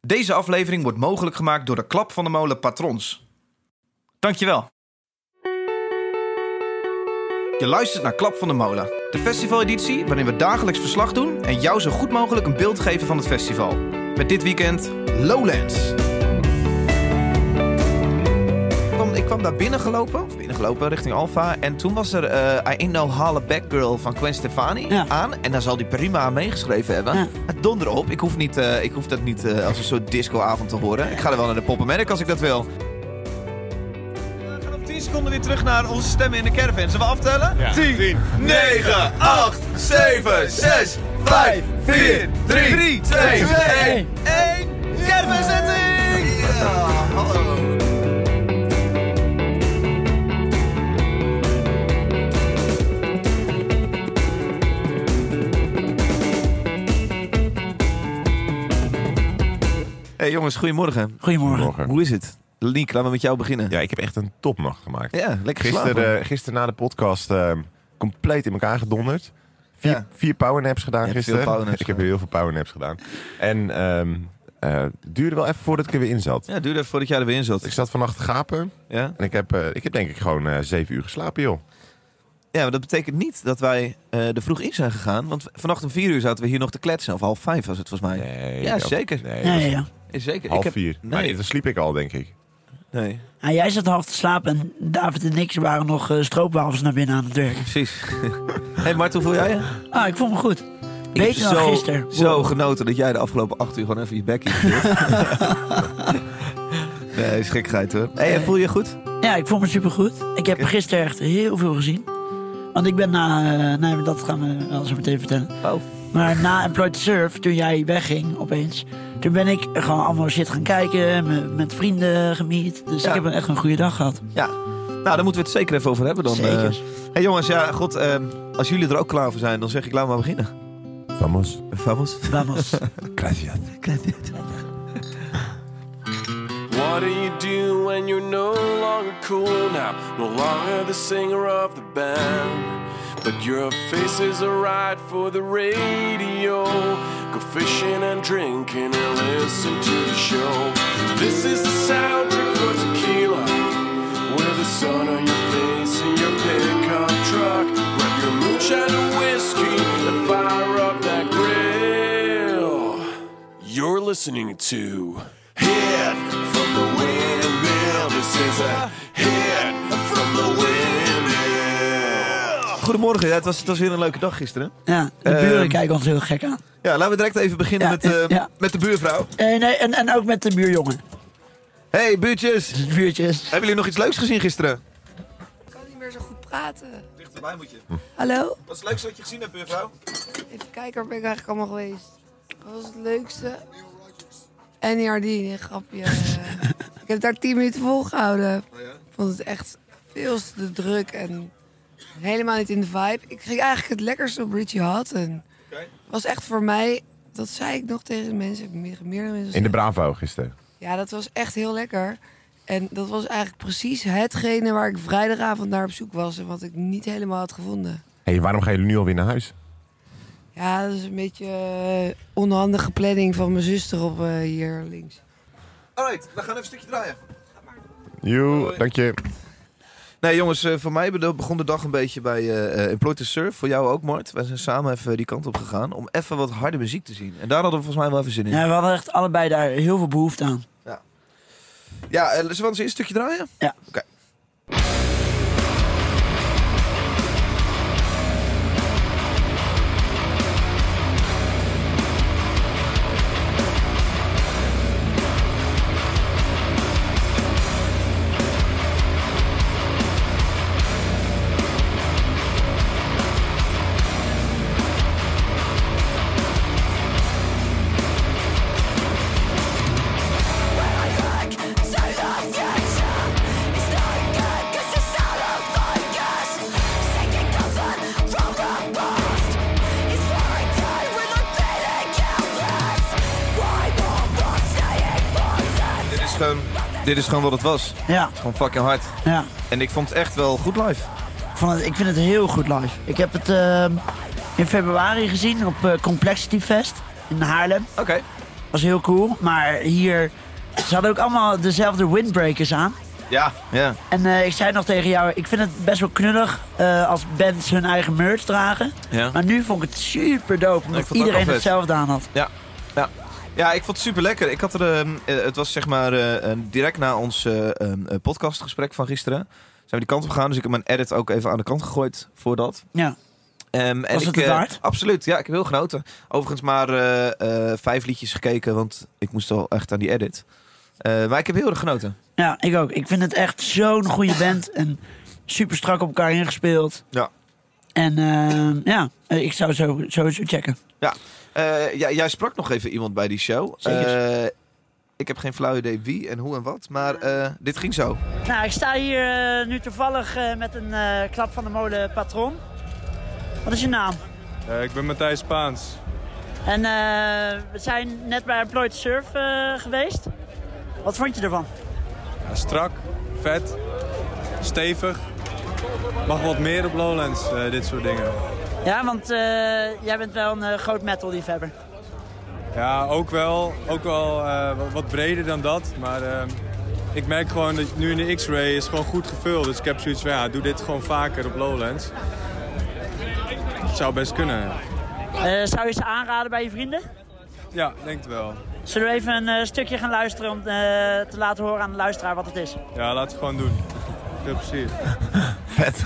Deze aflevering wordt mogelijk gemaakt door de Klap van de Molen Patrons. Dankjewel. Je luistert naar Klap van de Molen, de festivaleditie waarin we dagelijks verslag doen en jou zo goed mogelijk een beeld geven van het festival. Met dit weekend Lowlands. Ik kwam, ik kwam daar binnen gelopen, of binnen gelopen richting Alfa. En toen was er eh I Ain't No Halle Back Girl van Gwen Stefani Ja. aan. En daar zal die prima aan meegeschreven hebben. Ja. Het donder op. Ik hoef, niet, eh, ik hoef dat niet eh, als een soort discoavond te horen. Ik ga er wel naar de Poppenmerk als ik dat wil. We gaan op 10 seconden weer terug naar onze stemmen in de caravan. Zullen we aftellen? 10, 9, 8, 7, 6, 5, 4, 3, 2, 1. 1, caravanzetting! Ja, hallo. Hey jongens, goedemorgen. Goedemorgen. Hoe is het? Link, laten we met jou beginnen. Ja, ik heb echt een topnacht gemaakt. Ja, lekker geslapen. Gisteren, eh, gisteren na de podcast eh, compleet in elkaar gedonderd. Vier, Ja. vier powernaps gedaan Je hebt gisteren. veel powernaps ik heb gedaan. heel veel powernaps gedaan. En ehm, eh, het duurde wel even voordat ik er weer in zat. Ja, het duurde even voordat jij er weer in Ik zat. zat vannacht te gapen Ja? en ik heb, eh, ik heb denk ik gewoon eh, zeven uur geslapen, joh. ja, maar dat betekent niet dat wij eh er vroeg in zijn gegaan. Want vannacht om vier uur zaten we hier nog te kletsen. Of half vijf was het volgens mij. Nee, Ja, ik- zeker. Nee, dat Ja, ja, was ja. Eh, Zeker. half ik heb... vier. Nee. Maar dan sliep ik al, denk ik. Nee, Ja, Nou, jij zat half te slapen en David en ik waren nog eh, stroopwafels naar binnen aan het werk. precies. hey Marten, hoe voel jij je? Ah, ik vond me goed. Ik heb Beter dan zo, gisteren. zo Wow. genoten dat jij de afgelopen acht uur gewoon even je bek in hebt. Nee, is gekheid hoor. hey, en voel je je goed? Ja, ik vond me supergoed. Ik heb gisteren echt heel veel gezien. Want ik ben na... eh, nee, maar dat gaan we wel zo meteen vertellen. Oh. Maar na Employed to Surf, toen jij wegging opeens... Toen ben ik gewoon allemaal shit gaan kijken, me- met vrienden gemiet. Dus Ja. ik heb echt een goede dag gehad. Ja. Nou, daar moeten we het zeker even over hebben dan. Zeker. eh. hey, jongens, ja, god, eh, als jullie er ook klaar voor zijn, dan zeg ik, laten we maar beginnen. Vamos. Vamos. Vamos. Gracias. What do you do when you're no longer cool now? No longer the singer of the band. But your face is alright for the radio. Go fishing and drinking and listen to the show. This is the soundtrack for tequila. With the sun on your face and your pickup truck. Grab your moonshine and whiskey and fire up that grill. You're listening to Hit from the Windmill. This is a hit from the Windmill. Goedemorgen, ja, het, was, het was weer een leuke dag gisteren. Ja, de Ehm. buren kijken ons heel gek aan. Ja, laten we direct even beginnen Ja, met, eh, ja. met de buurvrouw. Eh, nee, en, en ook met de buurjongen. Hey buurtjes, Dus buurtjes. hebben jullie nog iets leuks gezien gisteren? Ik kan niet meer zo goed praten. Dichterbij moet je. Hallo? Wat is het leukste wat je gezien hebt, buurvrouw? Even kijken, waar ben ik eigenlijk allemaal geweest? Wat was het leukste? NERD, een grapje. ik heb daar 10 minuten volgehouden. Ik vond het echt veel te druk en helemaal niet in de vibe. Ik ging eigenlijk het lekkerste op Richie Hutton. Oké. was echt voor mij, dat zei ik nog tegen de mensen, ik heb meer- meerdere mensen In de gezegd. Bravo gisteren. Ja, dat was echt heel lekker. En dat was eigenlijk precies hetgene waar ik vrijdagavond naar op zoek was en wat ik niet helemaal had gevonden. hey, waarom gaan jullie nu alweer naar huis? Ja, dat is een beetje eh, onhandige planning van mijn zuster op eh, hier links. Alright, we gaan even een stukje draaien. Joe, dank je. Nee jongens, eh, voor mij bedo- begon de dag een beetje bij eh, eh, Employed to Surf. Voor jou ook, Mart. Wij zijn samen even die kant op gegaan om even wat harde muziek te zien. En daar hadden we volgens mij wel even zin in. Ja, Ja, we hadden echt allebei daar heel veel behoefte aan. eh, zullen we anders eerst een stukje draaien? Ja. Oké. Dit is gewoon, dit is gewoon wat het was. Het Ja, is gewoon fucking hard. ja. En ik vond het echt wel goed live. Ik, vond het, ik vind het heel goed live. Ik heb het ehm, in februari gezien op eh, Complexity Fest in Haarlem. Oké. was heel cool. Maar hier, ze hadden ook allemaal dezelfde windbreakers aan. Ja, ja. En eh, ik zei nog tegen jou, ik vind het best wel knullig eh, als bands hun eigen merch dragen. Ja. Maar nu vond ik het super dope, Ik vond het omdat ook wel iedereen vet. hetzelfde aan had. Ja, ja. ja ik vond het super lekker. Ik had er, ehm, eh, het was zeg maar eh, eh, direct na ons eh, ehm, eh, podcastgesprek van gisteren. Zijn we die kant op gegaan, dus ik heb mijn edit ook even aan de kant gegooid voor dat. Ja. Ehm, en Was het ik, het eh, waard? Absoluut, ja, ik heb heel genoten. Overigens maar eh, eh, vijf liedjes gekeken, want ik moest wel echt aan die edit. Eh, maar ik heb heel erg genoten. ja, ik ook. Ik vind het echt zo'n goede band. En super strak op elkaar ingespeeld. Ja. En eh, ja, eh, ik zou zo, sowieso checken. Eh, ja, jij sprak nog even iemand bij die show. Zeker. Eh, ik heb geen flauw idee wie en hoe en wat, maar eh, dit ging zo. Nou, ik sta hier eh, nu toevallig eh, met een eh, klap van de molen patroon. Wat is je naam? Eh, ik ben Matthijs Paans. En eh, we zijn net bij Employed Surf eh, geweest. Wat vond je ervan? Ja, strak, vet, stevig. Mag wat meer op Lowlands, eh, dit soort dingen. Ja, want eh, jij bent wel een eh, groot metal liefhebber. Ja, ook wel, ook wel eh, wat- wat breder dan dat. Maar ehm, ik merk gewoon dat nu in de X-Ray is gewoon goed gevuld. Dus ik heb zoiets van, ja, doe dit gewoon vaker op Lowlands. Zou best kunnen. Eh, zou je ze aanraden bij je vrienden? Ja, denk het wel. Zullen we even een eh, stukje gaan luisteren om eh, te laten horen aan de luisteraar wat het is? Ja, laten we het gewoon doen. Veel plezier. Vet.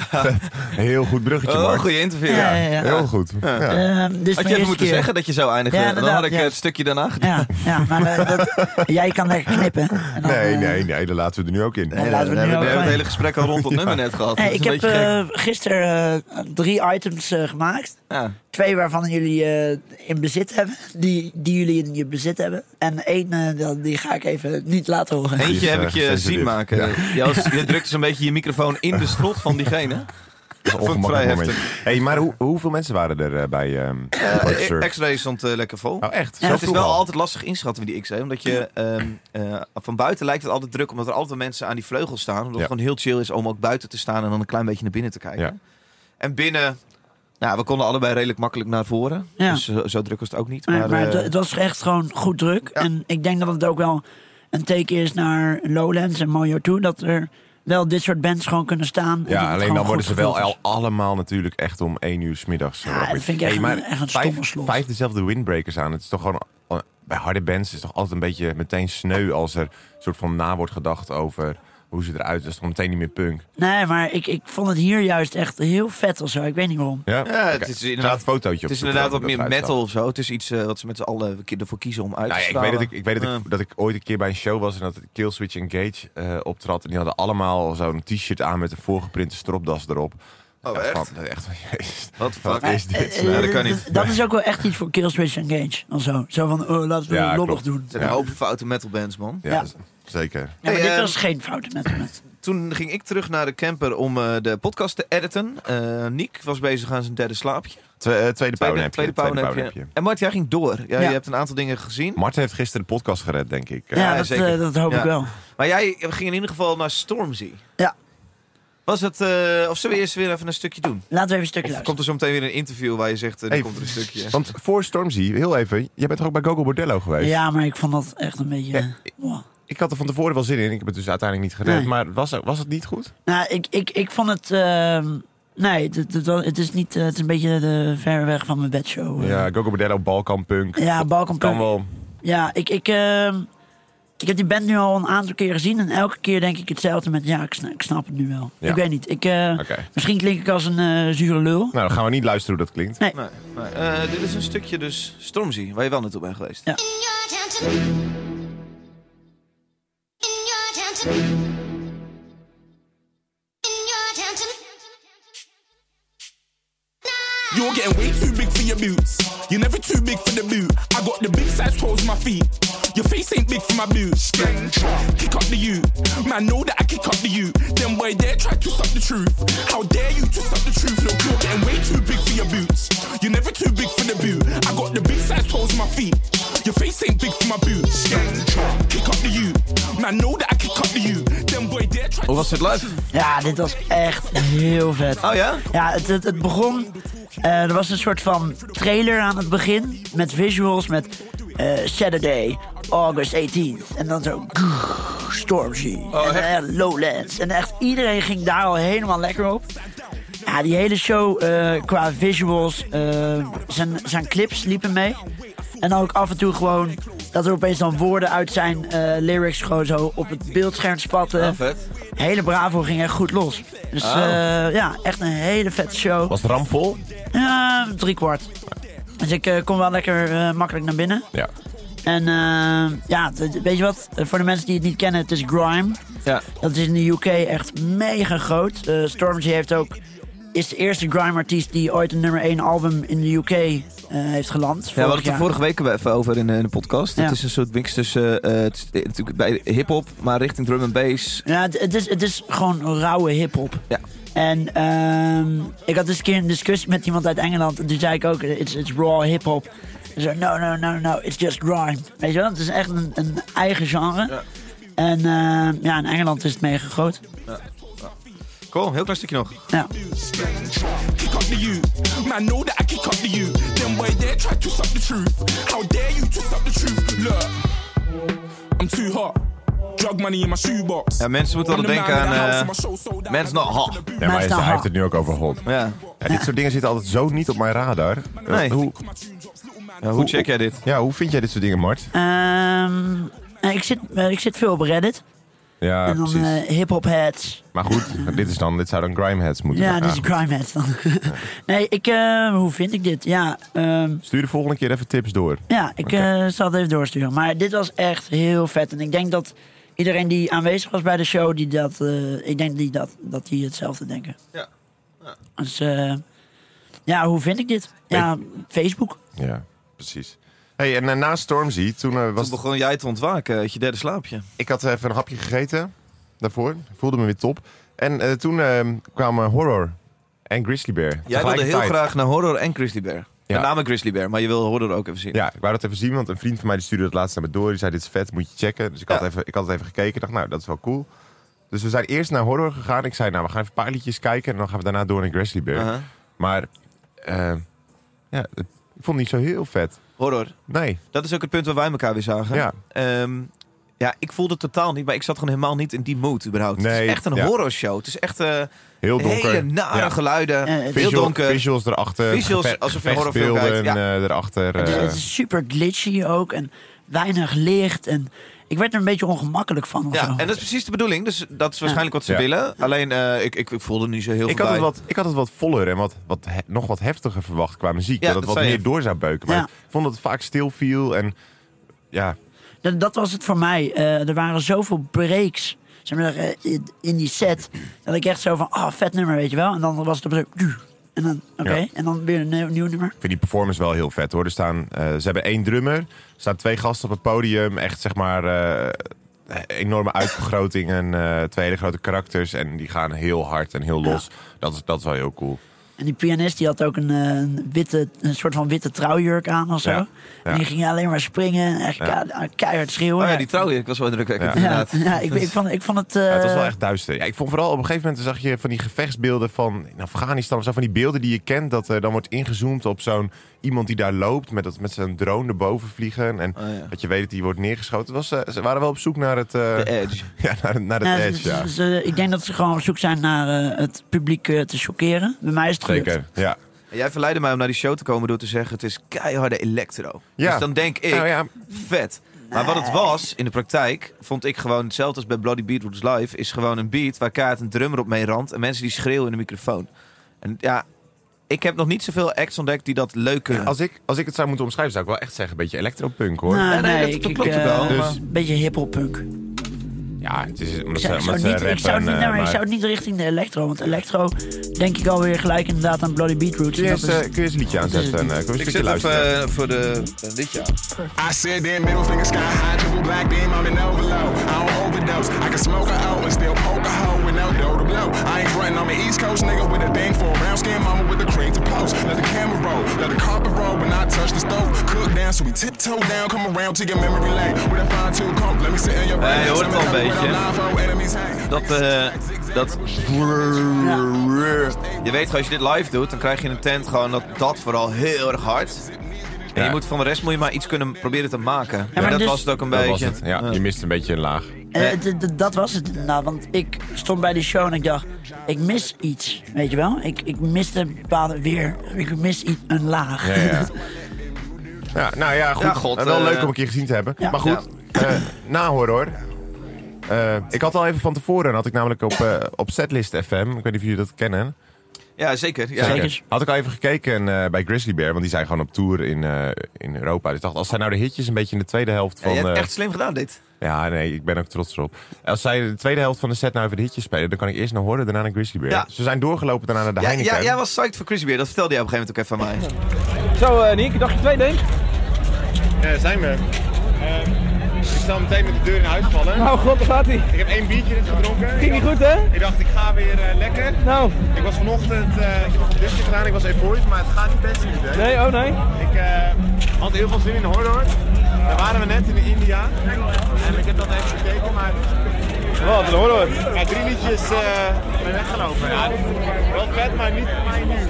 Heel goed bruggetje, Oh, Mark. goede interview. ja, ja. Ehm, dus Heel goed. Ja. dit Had je even moeten zeggen dat je zou eindigen? Ja, dan had inderdaad, ik ja. eh, het stukje daarna gedaan. Ja, ja maar eh, dat, jij kan lekker knippen. En dan, Nee, eh, nee, nee. Dat laten we er nu ook in. Nee, laten we We nu hebben, we ook hebben het gewoon- hele gesprek al rond dat nummer net gehad. Hey, Dat is ik een heb beetje gek. eh, gisteren eh, drie items eh, gemaakt. Ja. Twee waarvan jullie eh, in bezit hebben. Die, die jullie in je bezit hebben. En één, eh, dat- die ga ik even niet laten horen. Eentje Die is, heb eh, ik je gecensureerd. zien maken. Ja. Je, was- je drukt dus een beetje je microfoon in de strot van diegene. Dat is een Vond ik ongemakkelijk vrij moment. Hey, maar hoe, hoeveel mensen waren er eh, bij ehm Project Eh, Surf? X-ray stond eh, lekker vol. Oh, echt? Ja, Zo het is vroeg wel al? altijd lastig inschatten met die X-ray. Omdat je ehm, eh, van buiten lijkt het altijd druk. Omdat er altijd mensen aan die vleugel staan. Omdat Ja. het gewoon heel chill is om ook buiten te staan. En dan een klein beetje naar binnen te kijken. Ja. En binnen... Nou, we konden allebei redelijk makkelijk naar voren. Ja. Dus zo, zo druk was het ook niet. Maar, Maar, maar eh, het, het was echt gewoon goed druk. Ja. En ik denk dat het ook wel een teken is naar Lowlands en Mojo 2. Dat er wel dit soort bands gewoon kunnen staan. en dat het Ja, alleen gewoon dan worden goed ze wel gevuld is. al allemaal natuurlijk echt om één uur 's middags. eh, Ja, wakker. dat vind ik echt maar een- echt een vijf- stomme slot. Vijf dezelfde windbreakers aan. Het is toch gewoon... eh, Bij harde bands is het toch altijd een beetje meteen sneu als er een soort van na wordt gedacht over hoe ze eruit. Dat is toch meteen niet meer punk. Nee, maar ik, ik vond het hier juist echt heel vet of zo. Ik weet niet waarom. Ja, ja, Oké. het is Er staat een inderdaad fotootje op. Het is zoek, inderdaad eh, wat dat meer eruit staat. metal of zo. Het is iets eh, wat ze met z'n allen ki- ervoor kiezen om uit te Eh, Nou ja, ik weet stralen. dat ik, ik, weet dat, Ja. ik, eh, dat ik ooit een keer bij een show was en dat Killswitch Engage eh optrad. En die hadden allemaal zo'n t-shirt aan met een voorgeprinte stropdas erop. Oh, Ja, echt? Van, echt van, jezus. Wat de fuck? Wat is Eh, dit? eh, Nee, nou? dat kan niet. Dat, dat is ook wel echt iets voor Killswitch Engage. Of zo. zo van, oh, laten we Ja, een lobbig klopt. doen. Er zijn een hoop foute metalbands, man. Ja, eh, ja. z- zeker. Ja, maar Hey, dit eh, was geen fouten met met. Toen ging ik terug naar de camper om eh, de podcast te editen. Eh, Niek was bezig aan zijn derde slaapje. Twe- eh, tweede Tweede, pauwnapje. tweede Tweede pauwnapje. pauwnapje. En Mart, jij ging door. Ja, Ja. Je hebt een aantal dingen gezien. Marten heeft gisteren de podcast gered, denk ik. Ja, Eh, ja, dat, zeker. eh, dat hoop Ja. ik wel. Maar jij ging in ieder geval naar Stormzy. Ja. Was het, eh, of zullen we eerst weer even een stukje doen? Laten we even een stukje Of luisteren. komt er zo meteen weer een interview waar je zegt, eh, hey, er komt er een stukje. Want voor Stormzy, heel even, jij bent toch ook bij Gogo Bordello geweest? Ja, maar ik vond dat echt een beetje... eh, wow. Ik had er van tevoren wel zin in, ik heb het dus uiteindelijk niet gered. Nee. Maar was, was het niet goed? Nou, ik, ik, ik vond het. ehm, nee, het, het, het was- het is niet. eh, Het is een beetje de ver weg van mijn bedshow. eh. Ja, Gogo Bordello, Balkan Punk. ja Het Balkan kan Punk. wel. Nou, Ja, ik, ik, ehm, ik heb die band nu al een aantal keer gezien. En elke keer denk ik hetzelfde met. Ja, ik snap, ik snap het nu wel. Ja. Ik weet niet. Ik, eh, Oké. Misschien klink ik als een eh, zure lul. Nou, dan gaan we niet luisteren hoe dat klinkt. Nee, nee. Eh, dit is een stukje dus Stormzy, waar je wel naartoe bent geweest. Ja. In your attention. In your attention. In your attention. You're getting way too big for your boots. You're never too big for the boot. I got the big size toes on my feet. Your face ain't big for my boots. Kick up the you. Man, know that I kick up the you. Then boy, dare try to suck the truth. How dare you to suck the truth? Look, you're getting way too big for your boots. You're never too big for the boot. I got the big size toes on my feet. Your face ain't big for my boots. Kick up the you. Man, know that I kick up the you. Then boy, dare try Hoe to was het live? Ja, dit was echt heel vet. Oh ja? Ja, het, het, het begon. eh, er was een soort van trailer aan het begin. Met visuals, met eh, Saturday, August 18th. En dan zo Stormzy. Oh, en dan echt Lowlands. En echt iedereen ging daar al helemaal lekker op. Ja, die hele show eh, qua visuals, eh, zijn, zijn clips liepen mee. En dan ook af en toe gewoon dat er opeens dan woorden uit zijn eh, lyrics gewoon zo op het beeldscherm spatten. Ah, vet. Hele Bravo ging echt goed los. Dus Oh. eh, ja, echt een hele vette show. Was het rampvol? Ja, drie kwart. Dus ik eh, kon wel lekker eh, makkelijk naar binnen. Ja. En eh, ja, t- weet je wat? Eh, Voor de mensen die het niet kennen, het is Grime. Ja. Dat is in de UK echt mega groot. Eh, Stormzy heeft ook, is de eerste Grime-artiest die ooit een nummer 1 album in de UK eh, heeft geland. Ja, we Vorig hadden het er jaar. vorige week even over in, eh, in de podcast. Ja. Het is een soort mix tussen eh, het is, eh, natuurlijk bij hip-hop, maar richting drum en bass. Ja, het- het is, het is gewoon rauwe hip-hop. Ja. En ehm, ik had dus een keer een discussie met iemand uit Engeland. En toen zei ik ook, it's, it's raw hip-hop. En zei, no, no, no, no, it's just grime. Weet je wel, het is echt een, een eigen genre. En ehm, ja, in Engeland is het mega groot. Cool, heel klein stukje nog. Ja. Kick up the you. Man, know that I kick up the you. Then why dare try to suck the truth? How dare you to suck the truth? Look, I'm too hot. Drug money in my shoebox. Ja, mensen moeten I'm altijd the man denken in aan... the house, eh, and my show's sold out. man's not hot. Ja, maar hij, is nou hij hot. heeft het nu ook over hot. ja. Ja, dit soort dingen zitten altijd zo niet op mijn radar. Eh, Nee. Hoe, Ja, hoe check jij dit? ja, hoe vind jij dit soort dingen, Mart? Ehm, nou, ik, zit, eh, ik zit veel op Reddit. Ja, en dan precies. eh, hip-hop heads. Maar goed, dus- dit, is dan, dit zou dan Grimeheads moeten Ja, zijn. Ah. dit is grime heads dan. nee, ik, eh, hoe vind ik dit? Ja, ehm, Stuur de volgende keer even tips door. Ja, ik Oké. eh, zal het even doorsturen. Maar dit was echt heel vet. En ik denk dat iedereen die aanwezig was bij de show, die dat, eh, ik denk die dat, dat die hetzelfde denken. Ja. Dus eh, ja, hoe vind ik dit? Ja, Facebook. Ja, precies. hey, en eh, na Stormzy, toen eh, was Toen begon jij te ontwaken uit je derde slaapje. ik had even een hapje gegeten daarvoor. Voelde me weer top. En eh, toen eh, kwamen Horror en Grizzly Bear. Jij wilde heel tegelijkertijd. graag naar Horror en Grizzly Bear. Ja. Met name Grizzly Bear, maar je wil Horror ook even zien. Ja, ik wou dat even zien, want een vriend van mij die stuurde het laatst naar me door. Die zei, dit is vet, moet je checken. Dus ik, Ja. had, even, ik had het even gekeken. Ik dacht, nou, dat is wel cool. Dus we zijn eerst naar Horror gegaan. Ik zei, nou, we gaan even een paar liedjes kijken. En dan gaan we daarna door naar Grizzly Bear. Uh-huh. Maar, eh, ja, het- ik vond het niet zo heel vet. Horror. Nee, Dat is ook het punt waar wij elkaar weer zagen. Ja. Ehm, ja, ik voelde het totaal niet, maar ik zat gewoon helemaal niet in die mood überhaupt. het Nee, is echt een ja. horrorshow. Het is echt eh heel donker. hele nare Ja. geluiden. Eh, het- veel Visual- donker. Visuals erachter. Visuals geve- alsof je een horrorfilm gevechtsbeelden, kijkt, eh, erachter. Dus Het, is, eh, het is super glitchy ook en weinig licht. En ik werd er een beetje ongemakkelijk van. of Ja, zo. en dat is precies de bedoeling. Dus dat is waarschijnlijk wat ze Ja. willen. Alleen, eh, ik, ik, ik voelde niet zo heel ik, veel had het bij. wat, ik had het wat voller en wat, wat he- nog wat heftiger verwacht qua muziek. Ja, dat het dat wat zei meer je. door zou beuken. Maar Ja. ik vond dat het vaak stil viel. En ja, Dat, dat was het voor mij. Eh, er waren zoveel breaks zeg maar, eh, in- in die set. Dat ik echt zo van, ah, vet nummer, weet je wel. En dan was het op zo, "Duh." en dan, oké, Ja. en dan weer een nieuw, nieuw nummer. Ik vind die performance wel heel vet hoor. Er staan, eh, ze hebben één drummer, er staan twee gasten op het podium. Echt zeg maar eh, enorme uitvergroting en eh, twee hele grote karakters. En die gaan heel hard en heel los. Dat, is, dat is wel heel cool. En die pianist die had ook een, eh, een witte, een soort van witte trouwjurk aan of zo. Ja, ja. En die ging alleen maar springen en echt ke- keihard schreeuwen. Oh ja, die trouwen, ik was wel indrukwekkend Ja. ja, inderdaad. ja, ik, ik, vond, ik vond het... eh, Ja, het was wel echt duister. Ja, ik vond vooral op een gegeven moment zag je van die gevechtsbeelden van in Afghanistan of zo. Van die beelden die je kent. Dat er dan wordt ingezoomd op zo'n iemand die daar loopt. Met, dat, met zijn drone erboven vliegen. En Oh ja. dat je weet dat die wordt neergeschoten. Het Was, eh, ze waren wel op zoek naar het... eh, De Edge. Ja, naar, het- naar het ja, ze- edge, ja. ze- ze- ik denk dat ze gewoon op zoek zijn naar eh, het publiek eh, te chockeren. Bij mij is het gelukt. Zeker, ja. Jij verleidde mij om naar die show te komen door te zeggen... het is keiharde electro. Ja. Dus dan denk ik, Nou ja, vet. Maar wat het was, in de praktijk, vond ik gewoon hetzelfde als bij Bloody Beatroots Live... is gewoon een beat waar kaart een drummer op mee randt... en mensen die schreeuwen in de microfoon. En ja, ik heb nog niet zoveel acts ontdekt die dat leuk kunnen. Als ik, als ik het zou moeten omschrijven, zou ik wel echt zeggen: een beetje electropunk hoor. Nou, Nee, nee, dat- ik- dat ik, klopt ook eh, wel, maar- Een beetje hiphop-punk. ja, het is omdat Ik ze, zou, omdat ik zou ze niet, ik zou het rappen, niet, nou, eh, ik zou maar- het niet richting de electro. Want electro denk ik alweer gelijk inderdaad aan Bloody Beetroots. Kun je, Dat eens, is- eh, kun je eens een liedje aanzetten? En, eh, kun je eens een ik stukje zit even luisteren? eh, voor de, eh, dit jaar. I said then middle finger sky high, triple black beam on an overload. I don't overdose. I can smoke a O and still poke a hoe with no dough to blow. I ain't frontin' on the East Coast nigga with a thing for a brown skin mama with a cream to post. Let the camera roll, let the carpet roll when I touch the stove. Cook down, so we tiptoe down, come around to your memory lane. With a fine tooth comb, let me sit in your Hey, brain. je hoort het al een Without beetje. blindfold, enemies hang. Dat, eh, dat... Je weet gewoon, als je dit live doet, dan krijg je in een tent gewoon dat, dat vooral heel erg hard. En je Ja. moet van de rest moet je maar iets kunnen proberen te maken. En maar dat dus- was het ook een Dat was beetje. het. Ja, je mist een beetje een laag. Eh, d- d- dat was het nou, want ik stond bij die show en ik dacht, ik mis iets, weet je wel? Ik, ik miste een bepaalde weer, ik mis iets, een laag. Ja, ja. ja, nou ja, goed. Ja, god, Eh, wel eh, leuk om een keer gezien te hebben. Ja. Maar goed, eh nahoor hoor. Eh, ik had al even van tevoren, had ik namelijk op, eh, op Setlist FM, ik weet niet of jullie dat kennen. Ja, zeker. Ja. Zeker. Had ik al even gekeken eh, bij Grizzly Bear, want die zijn gewoon op tour in, eh, in Europa. Dus ik dacht, als zij nou de hitjes een beetje in de tweede helft Ja, van... je hebt eh, echt slim gedaan dit. Ja, nee, ik ben ook trots erop. Als zij de tweede helft van de set nou even de hitjes spelen, dan kan ik eerst naar horen, daarna naar Grizzly Bear. Ja. Ze zijn doorgelopen daarna naar de Ja, Heineken. ja, jij was psyched voor Chris Beer, dat vertelde jij op een gegeven moment ook even aan mij. Zo, eh Nick, dagje twee, denk ik. Ja, Eh, zijn we. Ehm, ik zal meteen met de deur in huis vallen. Oh god, daar gaat hij. Ik heb één biertje dit gedronken. Ging ik, niet dacht, goed, hè? ik dacht, ik ga weer eh, lekker. Nou, Ik was vanochtend, eh ik heb nog een dutje gedaan, ik was euforisch, maar het gaat niet best nu. Hè? nee, oh nee. Ik eh, had heel veel zin in horror. Daar waren we net in India. En ik heb dat even gekeken, maar... Wat een horror. Ja, drie liedjes eh ben weggelopen. Ja, wel vet, maar niet voor mij nu.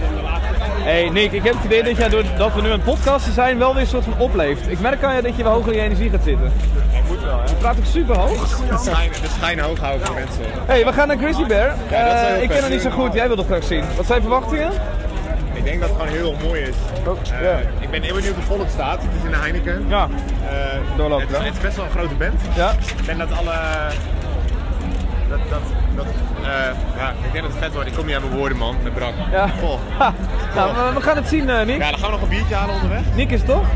Hey Nick, ik heb het idee dat jij doordat we nu aan het podcasten zijn wel weer een soort van opleeft. Ik merk aan je dat je wel hoger in je energie gaat zitten. Dat moet wel, hè. Je praat ook super hoog. De schijn, de schijn hoog houden voor mensen. Hey, we gaan naar Grizzly Bear. dat is Eh, heel ik vet. ken hem niet zo goed, jij wil dat graag zien. Wat zijn verwachtingen? Oh, Ik denk dat het gewoon heel mooi is. Eh, ja. Ik ben heel benieuwd hoe vol het staat. Het is in de Heineken. Ja, Eh, Doorlopen, het, is- hè? het is best wel een grote band. ja. Ik denk dat alle. Dat, dat, dat, eh, ja, ik denk dat het vet wordt. Ik kom niet aan mijn woorden, man. Met brak. ja. Goh. Ha, Nou, we- we gaan het zien, eh, Nick. Ja, dan gaan we nog een biertje halen onderweg. Nick is het toch?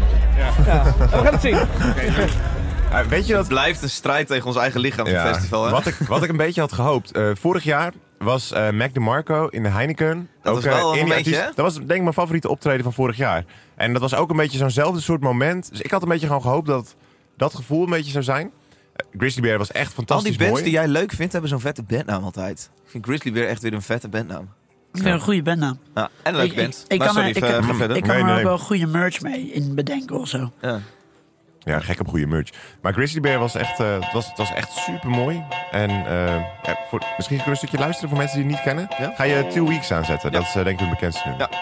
Ja. We gaan het zien. Eh, weet je dat Het blijft een strijd tegen ons eigen lichaam van Ja, het festival. Hè? Wat ik, wat ik een beetje had gehoopt. eh, vorig jaar was eh Mac DeMarco in de Heineken. Dat was eh, wel een indie momentje, artiest. hè? Dat was denk ik mijn favoriete optreden van vorig jaar. En dat was ook een beetje zo'nzelfde soort moment. Dus ik had een beetje gewoon gehoopt dat dat gevoel een beetje zou zijn. Eh, Grizzly Bear was echt Al fantastisch die bands mooi. die jij leuk vindt, hebben zo'n vette bandnaam altijd. Ik vind Grizzly Bear echt weer een vette bandnaam. Ik vind het een goede bandnaam. Ja, en een leuke Ik- ik- band. ik maar kan er- sorry, ik- eh, ga Mm. verder. Ik kan Nee, er nee. ook wel goede merch mee in bedenken of zo. Ja. Ja, gek op goede merch. Maar Grizzly Bear was echt, eh, het was, het was echt super mooi. En eh, ja, voor, misschien kun je een stukje luisteren voor mensen die het niet kennen. Ja. Ga je Two Weeks aanzetten. Dat is eh, denk ik hun bekendste nummer. Ja.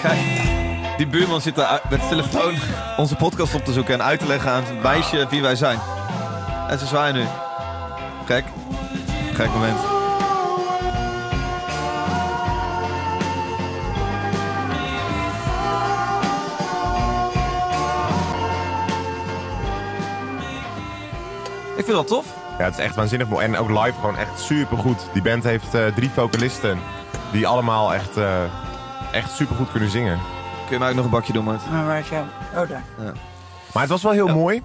Kijk, die buurman zit daar met de telefoon onze podcast op te zoeken en uit te leggen aan het meisje wie wij zijn. En ze zwaaien nu. Gek. Gek moment. Ik vind dat tof. Ja, het is echt waanzinnig mooi. En ook live gewoon echt supergoed. Die band heeft eh, drie vocalisten die allemaal echt, eh echt supergoed kunnen zingen. Kun je mij ook nog een bakje doen, Mart? Maar waar is jouw... Oh, daar. Maar het was wel heel Ja. mooi.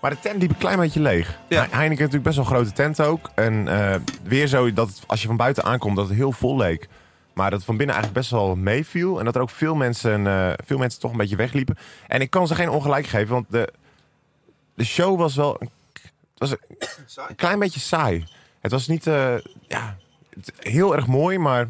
Maar de tent liep een klein beetje leeg. Ja. Heineken heeft natuurlijk best wel een grote tent ook. En eh, weer zo dat het, als je van buiten aankomt dat het heel vol leek. Maar dat het van binnen eigenlijk best wel meeviel. En dat er ook veel mensen, eh, veel mensen toch een beetje wegliepen. En ik kan ze geen ongelijk geven, want de, de show was wel een, het was een, een klein beetje saai. Het was niet eh, ja, het- heel erg mooi, maar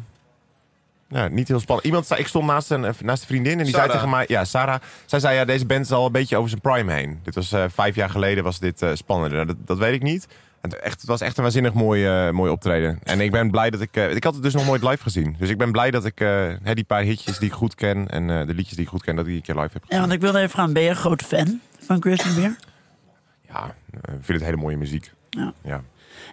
ja, Nou, niet heel spannend. Iemand zei, ik stond naast een, eh, naast een vriendin en die Sarah. zei tegen mij... Ja, Sarah. Zij zei, ja, deze band is al een beetje over zijn prime heen. Dit was eh, vijf jaar geleden was dit eh, spannender. Nou, dat, dat weet ik niet. Het, echt, het was echt een waanzinnig mooi, eh, mooi optreden. En ik ben blij dat ik... eh, ik had het dus nog nooit live gezien. Dus ik ben blij dat ik eh, hè, die paar hitjes die ik goed ken... en eh, de liedjes die ik goed ken, dat ik die een keer live heb Ja, want ik wilde even gaan, ben je een groot fan van Christian Beer? Ja, eh, ik vind het hele mooie muziek. Ja. ja.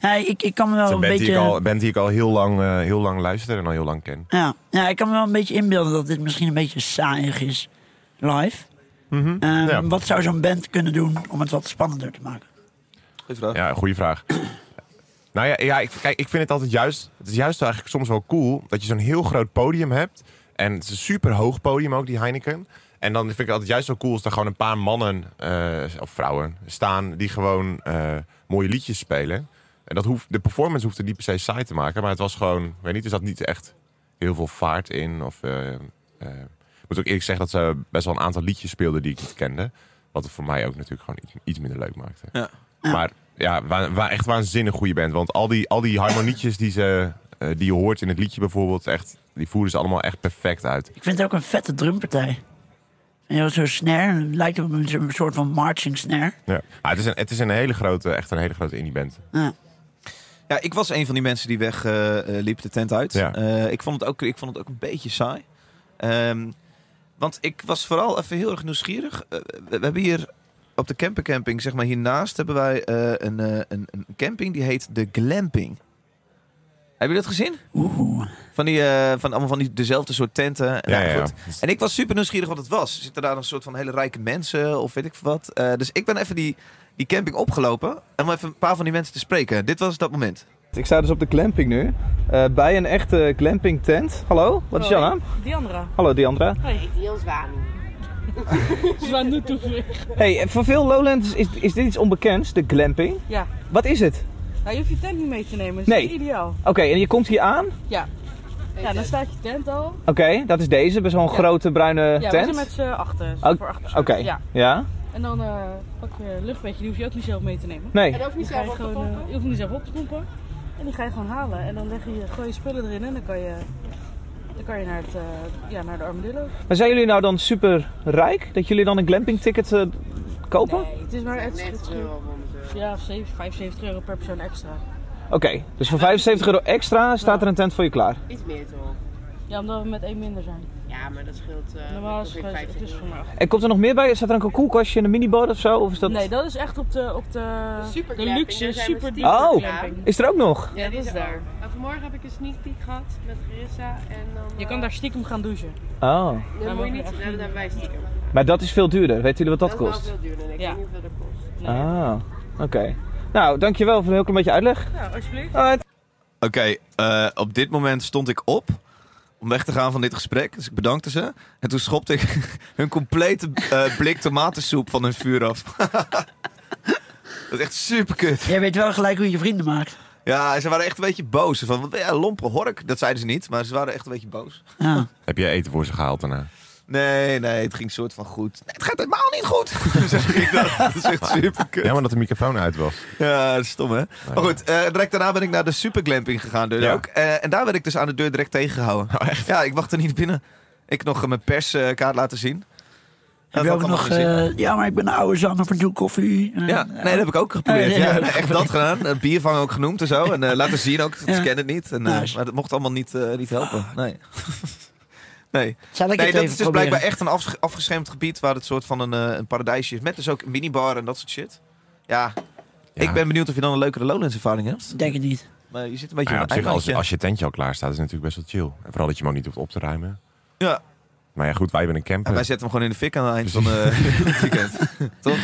Ja, ik, ik kan me wel Het is een een band, die beetje... ik al, band die ik al heel lang, eh, heel lang luister en al heel lang ken. Ja. ja, ik kan me wel een beetje inbeelden dat dit misschien een beetje saaiig is live. Ehm, Mhm. ja. Wat zou zo'n band kunnen doen om het wat spannender te maken? Goeie vraag. Ja, goede vraag. nou ja, ja ik, kijk, ik vind het altijd juist... Het is juist eigenlijk soms wel cool dat je zo'n heel groot podium hebt. En het is een super hoog podium ook, die Heineken. En dan vind ik het altijd juist wel cool als er gewoon een paar mannen eh, of vrouwen staan... die gewoon eh, mooie liedjes spelen. En dat hoeft, de performance hoeft er niet per se saai te maken. Maar het was gewoon... Ik weet niet, er zat niet echt heel veel vaart in of... eh, eh, moet ook eerlijk zeggen dat ze best wel een aantal liedjes speelden die ik niet kende. Wat het voor mij ook natuurlijk gewoon iets, iets minder leuk maakte. Ja. Maar ja, wa- wa- echt waanzinnig goede band. Want al die, al die harmonietjes die, ze, eh, die je hoort in het liedje bijvoorbeeld, echt, die voeren ze allemaal echt perfect uit. Ik vind het ook een vette drumpartij. En heel zo'n snare, het lijkt op een een soort van marching snare. Ja. Maar Ah, het is, een, het is een hele grote, echt een hele grote indie band. Ja, ik was een van die mensen die wegliep liep de tent uit. Ja. Eh, ik, vond het ook, ik vond het ook een beetje saai. Ehm, want ik was vooral even heel erg nieuwsgierig. Eh, we, we hebben hier op de campercamping, zeg maar hiernaast, hebben wij eh, een, eh, een, een camping die heet de Glamping. Heb je dat gezien? Van, die, eh, van allemaal van die, dezelfde soort tenten. En, Ja, nou, ja, goed. en ik was super nieuwsgierig wat het was. Zitten daar een soort van hele rijke mensen of weet ik veel wat. Eh, dus ik ben even die, die camping opgelopen om even een paar van die mensen te spreken. Dit was dat moment. Ik sta dus op de glamping nu. Eh, bij een echte glamping tent. Hallo, wat is jouw naam? Diandra. Hallo Diandra. Hoi. Heel Zwani. Zwani toevoeg. Hey, eh, voor veel Lowlands is, is dit iets onbekends, de glamping. Ja. Wat is het? Nou, je hoeft je tent niet mee te nemen. Dat is Nee. ideaal. Oké, en je komt hier aan. Oké, Ja. Ja, dan staat je tent al. dat is deze, best wel een Ja. grote bruine ja, we tent. zijn met z'n achter. Oké, voor acht Oké, personen. ja. Ja. En dan eh, pak je een luchtbedje, die hoef je ook niet zelf mee te nemen. Nee. En dat dat hoef je niet zelf, op, te je hoeft niet zelf op te pompen. En die ga je gewoon halen. En dan leg je, gooi je spullen erin en dan kan je, dan kan je naar, het, eh, ja, naar de armadillo. Maar zijn jullie nou dan super rijk dat jullie dan een glamping ticket eh, kopen? Het is maar extra. Ja, of zeven- 75 euro per persoon extra. Oké, dus voor 75 euro extra staat er een tent voor je klaar. Iets meer toch? Ja, omdat we met één minder zijn. Ja, maar dat scheelt. Normaal is het, het is voor mij acht. En komt er nog meer bij? Staat er een koelkastje en een miniboot of zo? Of is dat... Nee, dat is echt op de, op de, de luxe, super diepe Oh, glamping. is er ook nog? Ja, dat is daar. Vanmorgen heb ik een sneak peek gehad met Gerissa en dan... Je kan daar stiekem gaan douchen. Oh, Dat moet je niet, nou, dat hebben wij stiekem. maar dat is veel duurder. Weten jullie wat dat wel kost? veel duurder, denk ik. Ik weet niet hoeveel dat kost. Ah, oké. Nou, dankjewel voor een heel klein beetje uitleg. Nou, alsjeblieft. Alright. Oké, eh, op dit moment stond ik op om weg te gaan van dit gesprek. Dus ik bedankte ze. En toen schopte ik hun complete eh, blik tomatensoep van hun vuur af. Dat is echt super kut. Jij weet wel gelijk hoe je vrienden maakt. Ja, ze waren echt een beetje boos. Van, wat ben jij een lompe hork? Dat zeiden ze niet, maar ze waren echt een beetje boos. Ja. Heb jij eten voor ze gehaald daarna? Nee, nee, het ging soort van goed. Nee, het gaat helemaal niet goed. zeg ik dat. dat is echt super kut. Ja, maar dat de microfoon uit was. Ja, dat is stom hè. Maar goed, eh, direct daarna ben ik naar de superglamping gegaan dus Ja. ook. Eh, en daar werd ik dus aan de deur direct tegengehouden. Ja, ik wacht er niet binnen. Ik nog eh, mijn perskaart laten zien. Heb Dat je had ook allemaal nog, geen zin. eh, ja, maar ik ben een oude zanger van Doe Koffie. Eh, Ja, nee, dat heb ik ook geprobeerd. Oh, ja, ja, ja. nee, echt dat gedaan. Eh, Biervang ook genoemd en zo. En eh, laten zien ook. Ze kennen het niet. En, eh, Nice. Maar dat mocht allemaal niet, eh, niet helpen. Nee. nee. Zal ik nee, het dat even is dus proberen? blijkbaar echt een afge- afgeschermd gebied waar het soort van een, eh, een paradijsje is. Met dus ook een minibar en dat soort shit. Ja. Ik ben benieuwd of je dan een leukere Lowlands ervaring hebt. Denk het niet. Maar je zit een beetje Maar ja, op op een zich, als, eilandje. als je tentje al klaar staat, is het natuurlijk best wel chill. En vooral dat je hem ook niet hoeft op te ruimen. Ja. Maar ja, goed, wij hebben een camper. Ja, wij zetten hem gewoon in de fik aan het eind van eh, het weekend. Toch?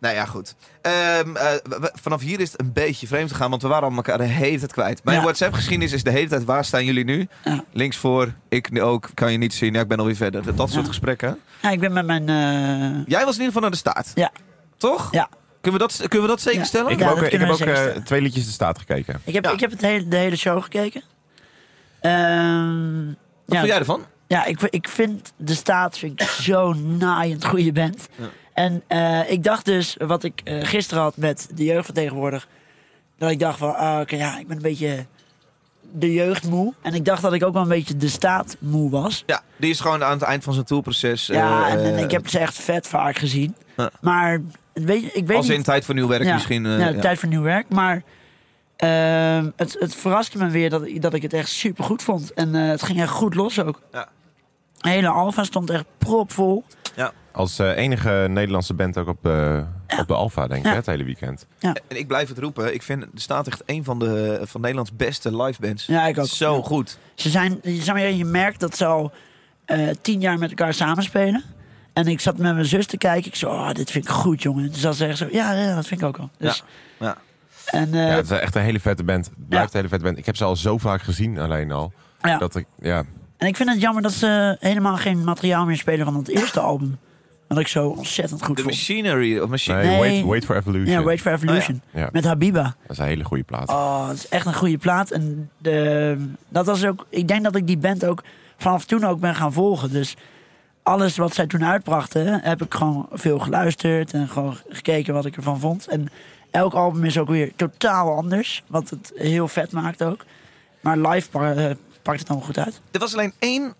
Nou ja, goed. Ehm, eh, w- w- vanaf hier is het een beetje vreemd gegaan, want we waren allemaal elkaar de hele tijd kwijt. Mijn WhatsApp-geschiedenis is de hele tijd, waar staan jullie nu? Links voor, ik nu ook, kan je niet zien, ja, ik ben alweer verder. Dat, dat soort gesprekken. Ja, ik ben met mijn... eh, Jij was in ieder geval naar de staat. Ja. Toch? Ja. Kunnen we dat, kunnen we dat zeker Ja. stellen? Ik Ja, heb ook, dat eh, ik heb kunnen ook we zeker eh, stellen. twee liedjes de staat gekeken. Ik heb, ik heb het hele, de hele show gekeken. Ehm, ja. vond jij ervan? Ja, ik, v- ik vind de staat vind ik zo'n naaiend goede band. Ja. En eh, ik dacht dus, wat ik eh, gisteren had met de jeugd van tegenwoordig... dat ik dacht van, ah, oké, ja, ik ben een beetje de jeugd moe. En ik dacht dat ik ook wel een beetje de staat moe was. Ja, die is gewoon aan het eind van zijn tourproces. Ja, eh, en, en eh, ik heb ze echt vet vaak gezien. Ja. Maar weet, je- ik weet Als in niet... tijd voor nieuw werk Ja, misschien. eh, ja, ja. tijd voor nieuw werk. Maar ehm, het, het verraste me weer dat, dat ik het echt super goed vond. En eh, het ging echt goed los ook. Ja. De hele Alfa stond echt propvol. Als eh, enige Nederlandse band ook op, eh, op de Alfa, denk ik, Ja. hè, het hele weekend. En ik blijf het roepen. Ik vind de staat echt een van de van Nederlands beste live bands. Ja, ik ook. Zo Ja. goed. Ze zijn, je zeg maar, je merkt dat ze al eh, tien jaar met elkaar samenspelen. En ik zat met mijn zus te kijken. Ik zei, oh, dit vind ik goed, jongen. Dus dat ze echt zo, ja, ja, dat vind ik ook al. Dus, Ja. Ja. En, eh, ja, het is echt een hele vette band. Het blijft een hele vette band. Ik heb ze al zo vaak gezien alleen al. Ja. Dat ik, ja. en ik vind het jammer dat ze helemaal geen materiaal meer spelen van het eerste album. Wat ik zo ontzettend goed De vond. Machinery. Of machine... Nee, Wait, Wait for Evolution. Ja, Wait for Evolution. Oh ja. Ja. Met Habiba. Dat is een hele goede plaat. Oh, het is echt een goede plaat. En de, dat was ook. Ik denk dat ik die band ook vanaf toen ook ben gaan volgen. Dus alles wat zij toen uitbrachten, heb ik gewoon veel geluisterd en gewoon gekeken wat ik ervan vond. En elk album is ook weer totaal anders, wat het heel vet maakt ook. Maar live pa- eh, pakt het allemaal goed uit. Er was alleen één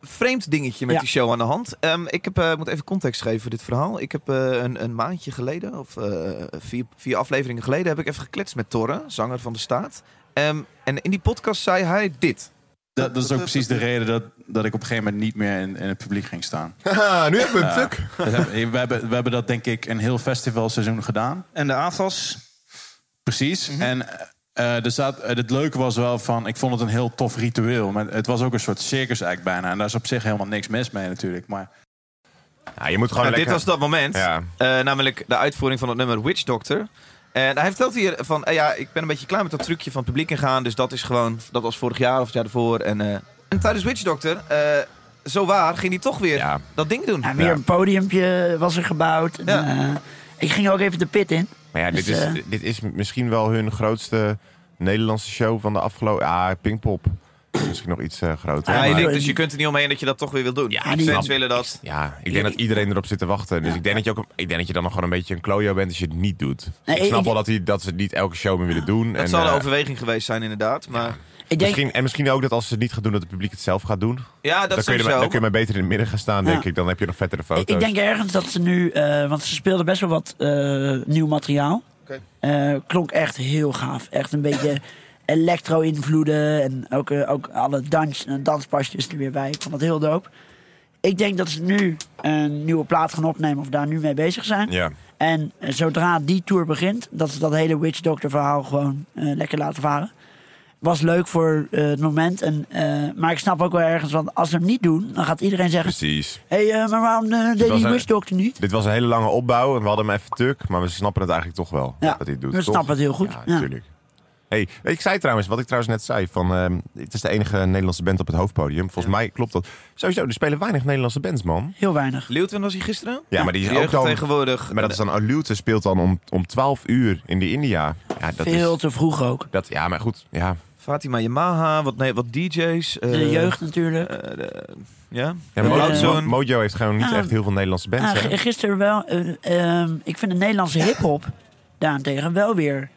vreemd dingetje met Ja. die show aan de hand. Ehm, ik heb, eh, moet even context geven voor dit verhaal. Ik heb eh, een, een maandje geleden, of eh, vier, vier afleveringen geleden, heb ik even gekletst met Torre, zanger van de staat. Ehm, en in die podcast zei hij dit. Dat, dat is ook precies de reden dat, dat ik op een gegeven moment niet meer in, in het publiek ging staan. Haha, Ah, nu hebben we hem Ja, dat hebben- we, hebben, we hebben dat denk ik een heel festivalseizoen gedaan. En de AFAS. Precies. Mhm. En eh, er zat, eh, het leuke was wel van, ik vond het een heel tof ritueel. Maar het was ook een soort circus act bijna. En daar is op zich helemaal niks mis mee natuurlijk. Maar Ja, je moet gewoon Nou, dit was lekker- dat moment. Ja. Eh, namelijk de uitvoering van het nummer Witch Doctor. En hij vertelt hier van, eh, ja, ik ben een beetje klaar met dat trucje van het publiek ingaan. Dus dat is gewoon, dat was vorig jaar of het jaar ervoor. En, eh, en tijdens Witch Doctor, eh, zo waar, ging hij toch weer dat ding doen. En weer een podiumpje was er gebouwd. En, eh, ik ging ook even de pit in. Maar ja, dit, Dus, is, eh, dit is misschien wel hun grootste Nederlandse show van de afgelopen... Ah, Pinkpop. Misschien nog iets eh, groter. Ja, je maar- denkt, dus je kunt er niet omheen dat je dat toch weer wilt doen. Ja, die fans willen dat. Ja, ik denk dat iedereen erop zit te wachten. Dus ik, denk dat je ook, ik denk dat je dan nog gewoon een beetje een klojo bent als je het niet doet. Nee, ik snap ik- wel dat, die, dat ze het niet elke show meer willen doen. Dat en, zal de eh, overweging geweest zijn, inderdaad. Maar denk- misschien, en misschien ook dat als ze het niet gaan doen, dat het publiek het zelf gaat doen. Ja, dat dus dan kun je, sowieso. maar- dan kun je maar beter in het midden gaan staan, denk Ja. ik. Dan heb je nog vettere foto's. Ik denk ergens dat ze nu, eh, want ze speelden best wel wat eh, nieuw materiaal. Eh, klonk echt heel gaaf. Echt een beetje elektro-invloeden en ook, eh, ook alle dans, eh, danspasjes er weer bij. Ik vond dat heel dope. Ik denk dat ze nu een nieuwe plaat gaan opnemen of daar nu mee bezig zijn. Ja. En eh, zodra die tour begint, dat ze dat hele Witch Doctor verhaal gewoon eh, lekker laten varen. Was leuk voor eh, het moment. En, eh, maar ik snap ook wel ergens, want als ze hem niet doen, dan gaat iedereen zeggen... Precies. Hé, hey, eh, maar waarom eh, Het deed was die een- Witch Doctor niet? Dit was een hele lange opbouw en we hadden hem even tuk. Maar we snappen het eigenlijk toch wel, Ja, dat hij het doet. we toch? snappen het heel goed. Ja, natuurlijk. Hey, ik zei trouwens, wat ik trouwens net zei, van ehm, het is de enige Nederlandse band op het hoofdpodium. Volgens mij klopt dat. Sowieso, er spelen weinig Nederlandse bands, man. Heel weinig. Leeuwten was hij gisteren? Ja, maar die is ook jeugd dan... tegenwoordig. Eh, Maar dat is dan... oh, Luwte speelt dan om, om 12 uur in de India. Ja, dat Veel is, te vroeg ook. Dat, ja, maar goed. Ja. Fatima Yamaha, wat, nee, wat DJ's. eh, De jeugd natuurlijk. eh, de- ja, Ja, maar Loud Mo- Zone. Mo- Mojo heeft gewoon niet Ja. echt heel veel Nederlandse bands. Ah, hè? g- gisteren wel. eh, ehm, ik vind de Nederlandse hip-hop daarentegen wel weer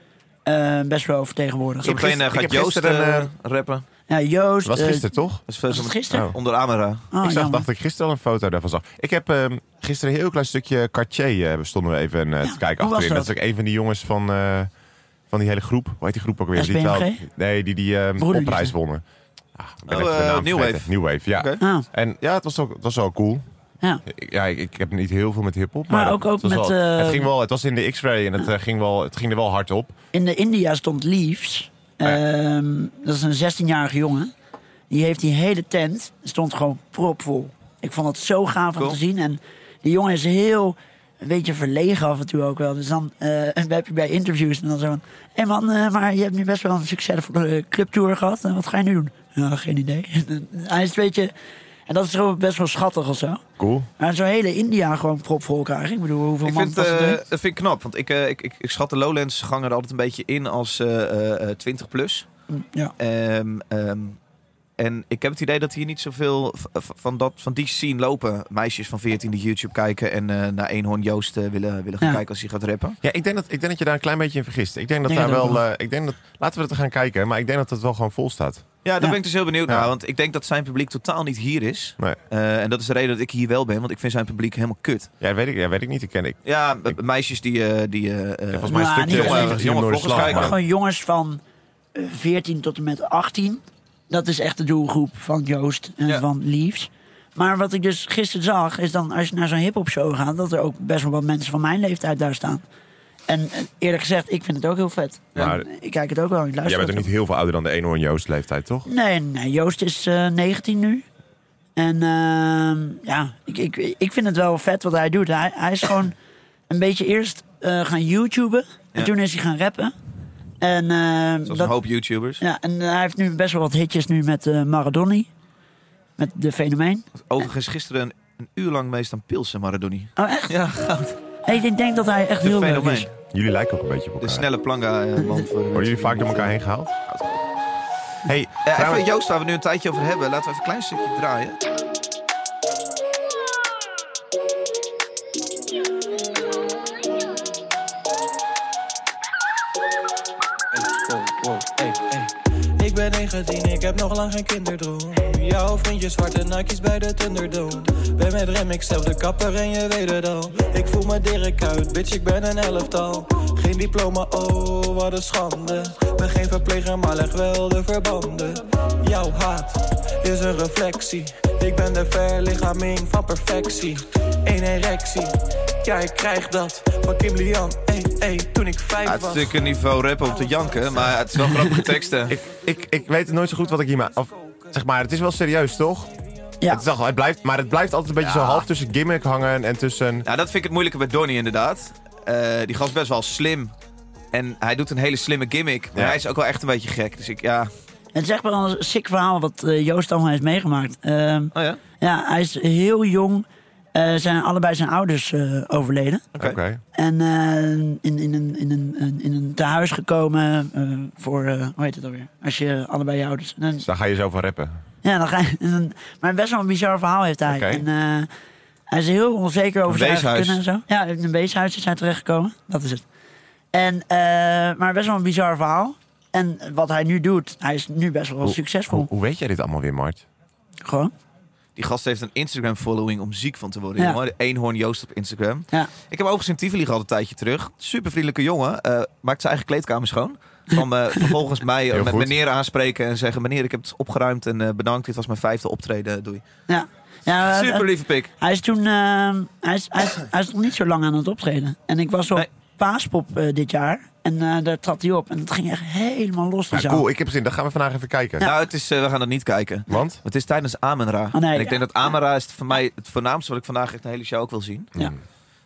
eh, best wel vertegenwoordigd. Zometeen eh, gaat Joost eh, rappen. Ja, Joost. was eh, gisteren, toch? Dat is het gisteren? Onder Amara. Ah, ik zag, jammer. dacht dat ik gisteren al een foto daarvan zag. Ik heb ehm, gisteren een heel klein stukje Cartier eh, stonden we even eh, te kijken hoe achterin. was Dat dat? is ook een van die jongens van, eh, van die hele groep. Hoe heet die groep ook weer? Die SBMG? wel- nee, die die ehm, Broederliefde. popprijs wonnen. Ah, ik ben Oh, even de eh, naam New vergeten. Wave. New Wave, ja. Ah. En ja, het was, ook, het was wel cool. Ja. Ja, ik, ik heb niet heel veel met hip-hop. Maar dat- ook- het ook was met, wel- eh, het, ging wel, het was in de X-ray en het, eh, ging wel, het ging er wel hard op. In de India stond Leaves. Ehm, dat is een 16-jarige jongen. Die heeft die hele tent, stond gewoon propvol. Ik vond het zo gaaf om Cool. te zien. En die jongen is heel een beetje verlegen af en toe ook wel. Dus dan eh, en heb je bij interviews en dan zo van... Hé man, eh, maar je hebt nu best wel een succesvolle clubtour gehad. En wat ga je nu doen? Ja, geen idee. Hij is een beetje... En dat is gewoon best wel schattig of zo. Cool. Maar zo'n hele India gewoon propvol krijgen. Ik bedoel, hoeveel Ik man vind, was het eh, er? dat vind ik knap, want ik, eh, ik, ik, ik schat de Lowlands-ganger altijd een beetje in als eh, eh, eh, 20 plus. Mm, Ja. Ehm, ehm, en ik heb het idee dat hier niet zoveel v- v- van, dat, van die scene lopen. Meisjes van 14 die YouTube kijken en eh, naar Eenhoorn Joost eh, willen, willen gaan Ja. kijken als hij gaat rappen. Ja, ik denk, dat, ik denk dat je daar een klein beetje in vergist. Ik denk dat Denk daar het ook wel... wel. eh, ik denk dat, laten we dat gaan kijken, maar ik denk dat het wel gewoon vol staat. Ja, daar ben ik dus heel benieuwd naar, want ik denk dat zijn publiek totaal niet hier is. Nee. Eh, en dat is de reden dat ik hier wel ben, want ik vind zijn publiek helemaal kut. Ja, weet ik, ja, weet ik niet. Ik ken ik. Ja, b- meisjes die... eh, die eh, volgens mij een eh, stukje jonge- gezien jonge door de vloggers slag, kijken. Maar gewoon jongens van eh, 14 tot en met 18. Dat is echt de doelgroep van Joost en van Leaves. Maar wat ik dus gisteren zag, is dan als je naar zo'n hip-hop show gaat, dat er ook best wel wat mensen van mijn leeftijd daar staan. En eh, eerlijk gezegd, ik vind het ook heel vet. Maar- En, eh, ik kijk het ook wel. Ik Jij luister bent er ook niet heel veel ouder dan de ene Joost leeftijd, toch? Nee, nee, Joost is eh, 19 nu. En ehm, ja, ik, ik, ik vind het wel vet wat hij doet. Hij, hij is gewoon een beetje eerst eh, gaan YouTuben. En Ja. toen is hij gaan rappen. En, ehm, Zoals dat- een hoop YouTubers. ja, en eh, hij heeft nu best wel wat hitjes nu met eh Maradoni. Met de fenomeen. Overigens gisteren een, een uur lang meest aan pilsen, Maradoni. Oh, echt? Ja, goud. Ik, ik denk dat hij echt De heel leuk fenomeen. is. Jullie lijken ook een beetje op De elkaar. snelle planga eh, man. Worden jullie vaak door elkaar heen gehaald? Hey, Eh, trouwens- even Joost, waar we nu een tijdje over hebben. Laten we even een klein stukje draaien. Ik ben 19, ik heb nog lang geen kinderdroom. Jouw vriendje zwarte Nike's bij de Thunderdome. Ben met Remix, zelf de kapper en je weet het al. Ik voel me Dirk uit, bitch, ik ben een elftal. Geen diploma, oh, wat een schande. Ben geen verpleger, maar leg wel de verbanden. Jouw haat is een reflectie. Ik ben de verlichaming van perfectie. Eén erectie, ja, ik krijg dat van Kim Lian. Ey, ey, toen ik vijf Ja, het is was. natuurlijk een niveau rap om te janken, maar het is wel grappige teksten. ik, ik, ik weet nooit zo goed wat ik hier maak. Of, zeg maar, het is wel serieus, toch? Ja. Het is toch, het blijft, maar het blijft altijd een beetje Ja. zo half tussen gimmick hangen en tussen... Nou, dat vind ik het moeilijke bij Donnie inderdaad. Eh, die gast is best wel slim. En hij doet een hele slimme gimmick. Maar Ja. hij is ook wel echt een beetje gek. Dus ik, ja... Het is echt wel een sick verhaal wat eh, Joost allemaal heeft meegemaakt. Ehm, Oh ja? hij is heel jong. eh, zijn allebei zijn ouders eh, overleden. Oké. En eh, in, in, een, in, een, een- in een tehuis gekomen eh, voor, eh, hoe heet het alweer? Als je allebei je ouders... en dan- Dus daar ga je zo van rappen. ja, dan ga je, en dan- maar best wel een bizar verhaal heeft hij. Oké. En, eh, hij is heel onzeker over Een zijn eigen weeshuis. kunnen en zo. Ja, in een weeshuis is hij terechtgekomen. Dat is het. En, eh, maar best wel een bizar verhaal. En wat hij nu doet, hij is nu best wel Hoe- succesvol. Hoe weet jij dit allemaal weer, Mart? Gewoon. Die gast heeft een Instagram-following om ziek van te worden. Ja. jongen. De Eenhoorn Joost op Instagram. Ja. Ik heb overigens in Tivoli gehad een tijdje terug. Super vriendelijke jongen. eh, maakt zijn eigen kleedkamer schoon. Kwam eh, vervolgens mij eh, Heel met goed. meneer aanspreken en zeggen... meneer, ik heb het opgeruimd en eh, bedankt. Dit was mijn vijfde optreden. Doei. Ja. ja eh, Super lieve pik. Hij is toen, ehm, hij, is, hij, is, hij is nog niet zo lang aan het optreden. En ik was op Paaspop eh, dit jaar. En eh, daar trad hij op. En dat ging echt helemaal los. die Ja, zaal. cool. Ik heb zin, dan gaan we vandaag even kijken. Nou, het is, eh, we gaan het niet kijken. Want? Het is tijdens Amenra. Oh, nee. En ik denk dat Amenra is het voor mij het voornaamste wat ik vandaag echt de hele show ook wil zien. Ja.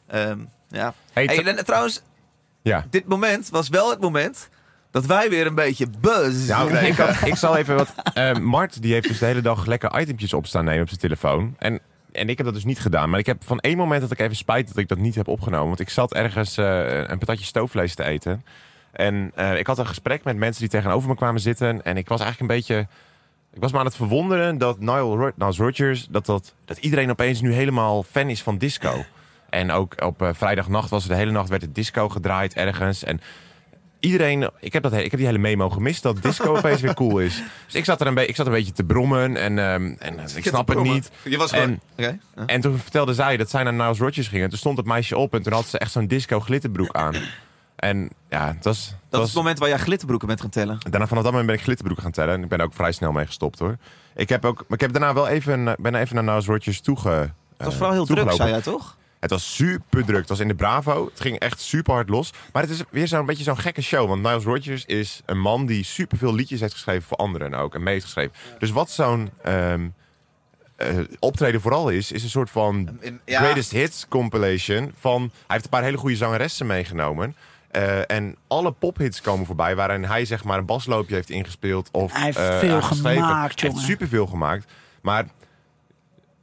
Ehm, ja. Hey, Hey, tr- en trouwens, Ja. dit moment was wel het moment dat wij weer een beetje buzz Nou, nee, ik, kregen. had- ik zal even wat... eh, Mart, die heeft dus de hele dag lekker itempjes op staan nemen op zijn telefoon. En, en ik heb dat dus niet gedaan. Maar ik heb van één moment dat ik even spijt dat ik dat niet heb opgenomen. Want ik zat ergens eh, een patatje stoofvlees te eten. En eh, ik had een gesprek met mensen die tegenover me kwamen zitten. En ik was eigenlijk een beetje... Ik was me aan het verwonderen dat Nile Ro- Niles Rodgers... Dat, dat, dat iedereen opeens nu helemaal fan is van disco. En ook op eh, vrijdagnacht was het de hele nacht werd het disco gedraaid ergens. En iedereen, ik heb, dat, he- ik heb die hele memo gemist dat disco opeens weer cool is. Dus ik zat er een, be- ik zat een beetje te brommen en, ehm, en eh, ik snap het Kom maar. niet. Je was en, gewoon... Oké. en toen vertelde zij dat zij naar Niles Rodgers ging. En toen stond het meisje op en toen had ze echt zo'n disco glitterbroek aan. En ja, het was... het Dat was- is het moment waar jij glitterbroeken bent gaan tellen. Daarna vanaf dat moment ben ik glitterbroeken gaan tellen. En ik ben er ook vrij snel mee gestopt hoor. Ik heb ook, maar ik heb daarna wel even, eh, ben even naar Niles Rodgers toege. eh, Het was vooral heel druk, zei jij toch? Het was super druk. Het was in de Bravo. Het ging echt super hard los. Maar het is weer zo'n beetje zo'n gekke show. Want Niles Rodgers is een man die super veel liedjes heeft geschreven voor anderen ook. En mee heeft geschreven. Dus wat zo'n ehm, eh, optreden vooral is, is een soort van ja. greatest hits compilation. Van, hij heeft een paar hele goede zangeressen meegenomen. Eh, en alle pophits komen voorbij waarin hij zeg maar een basloopje heeft ingespeeld. Of, Hij heeft eh, veel aan geschreven. gemaakt, Hij heeft jongen. superveel gemaakt. Maar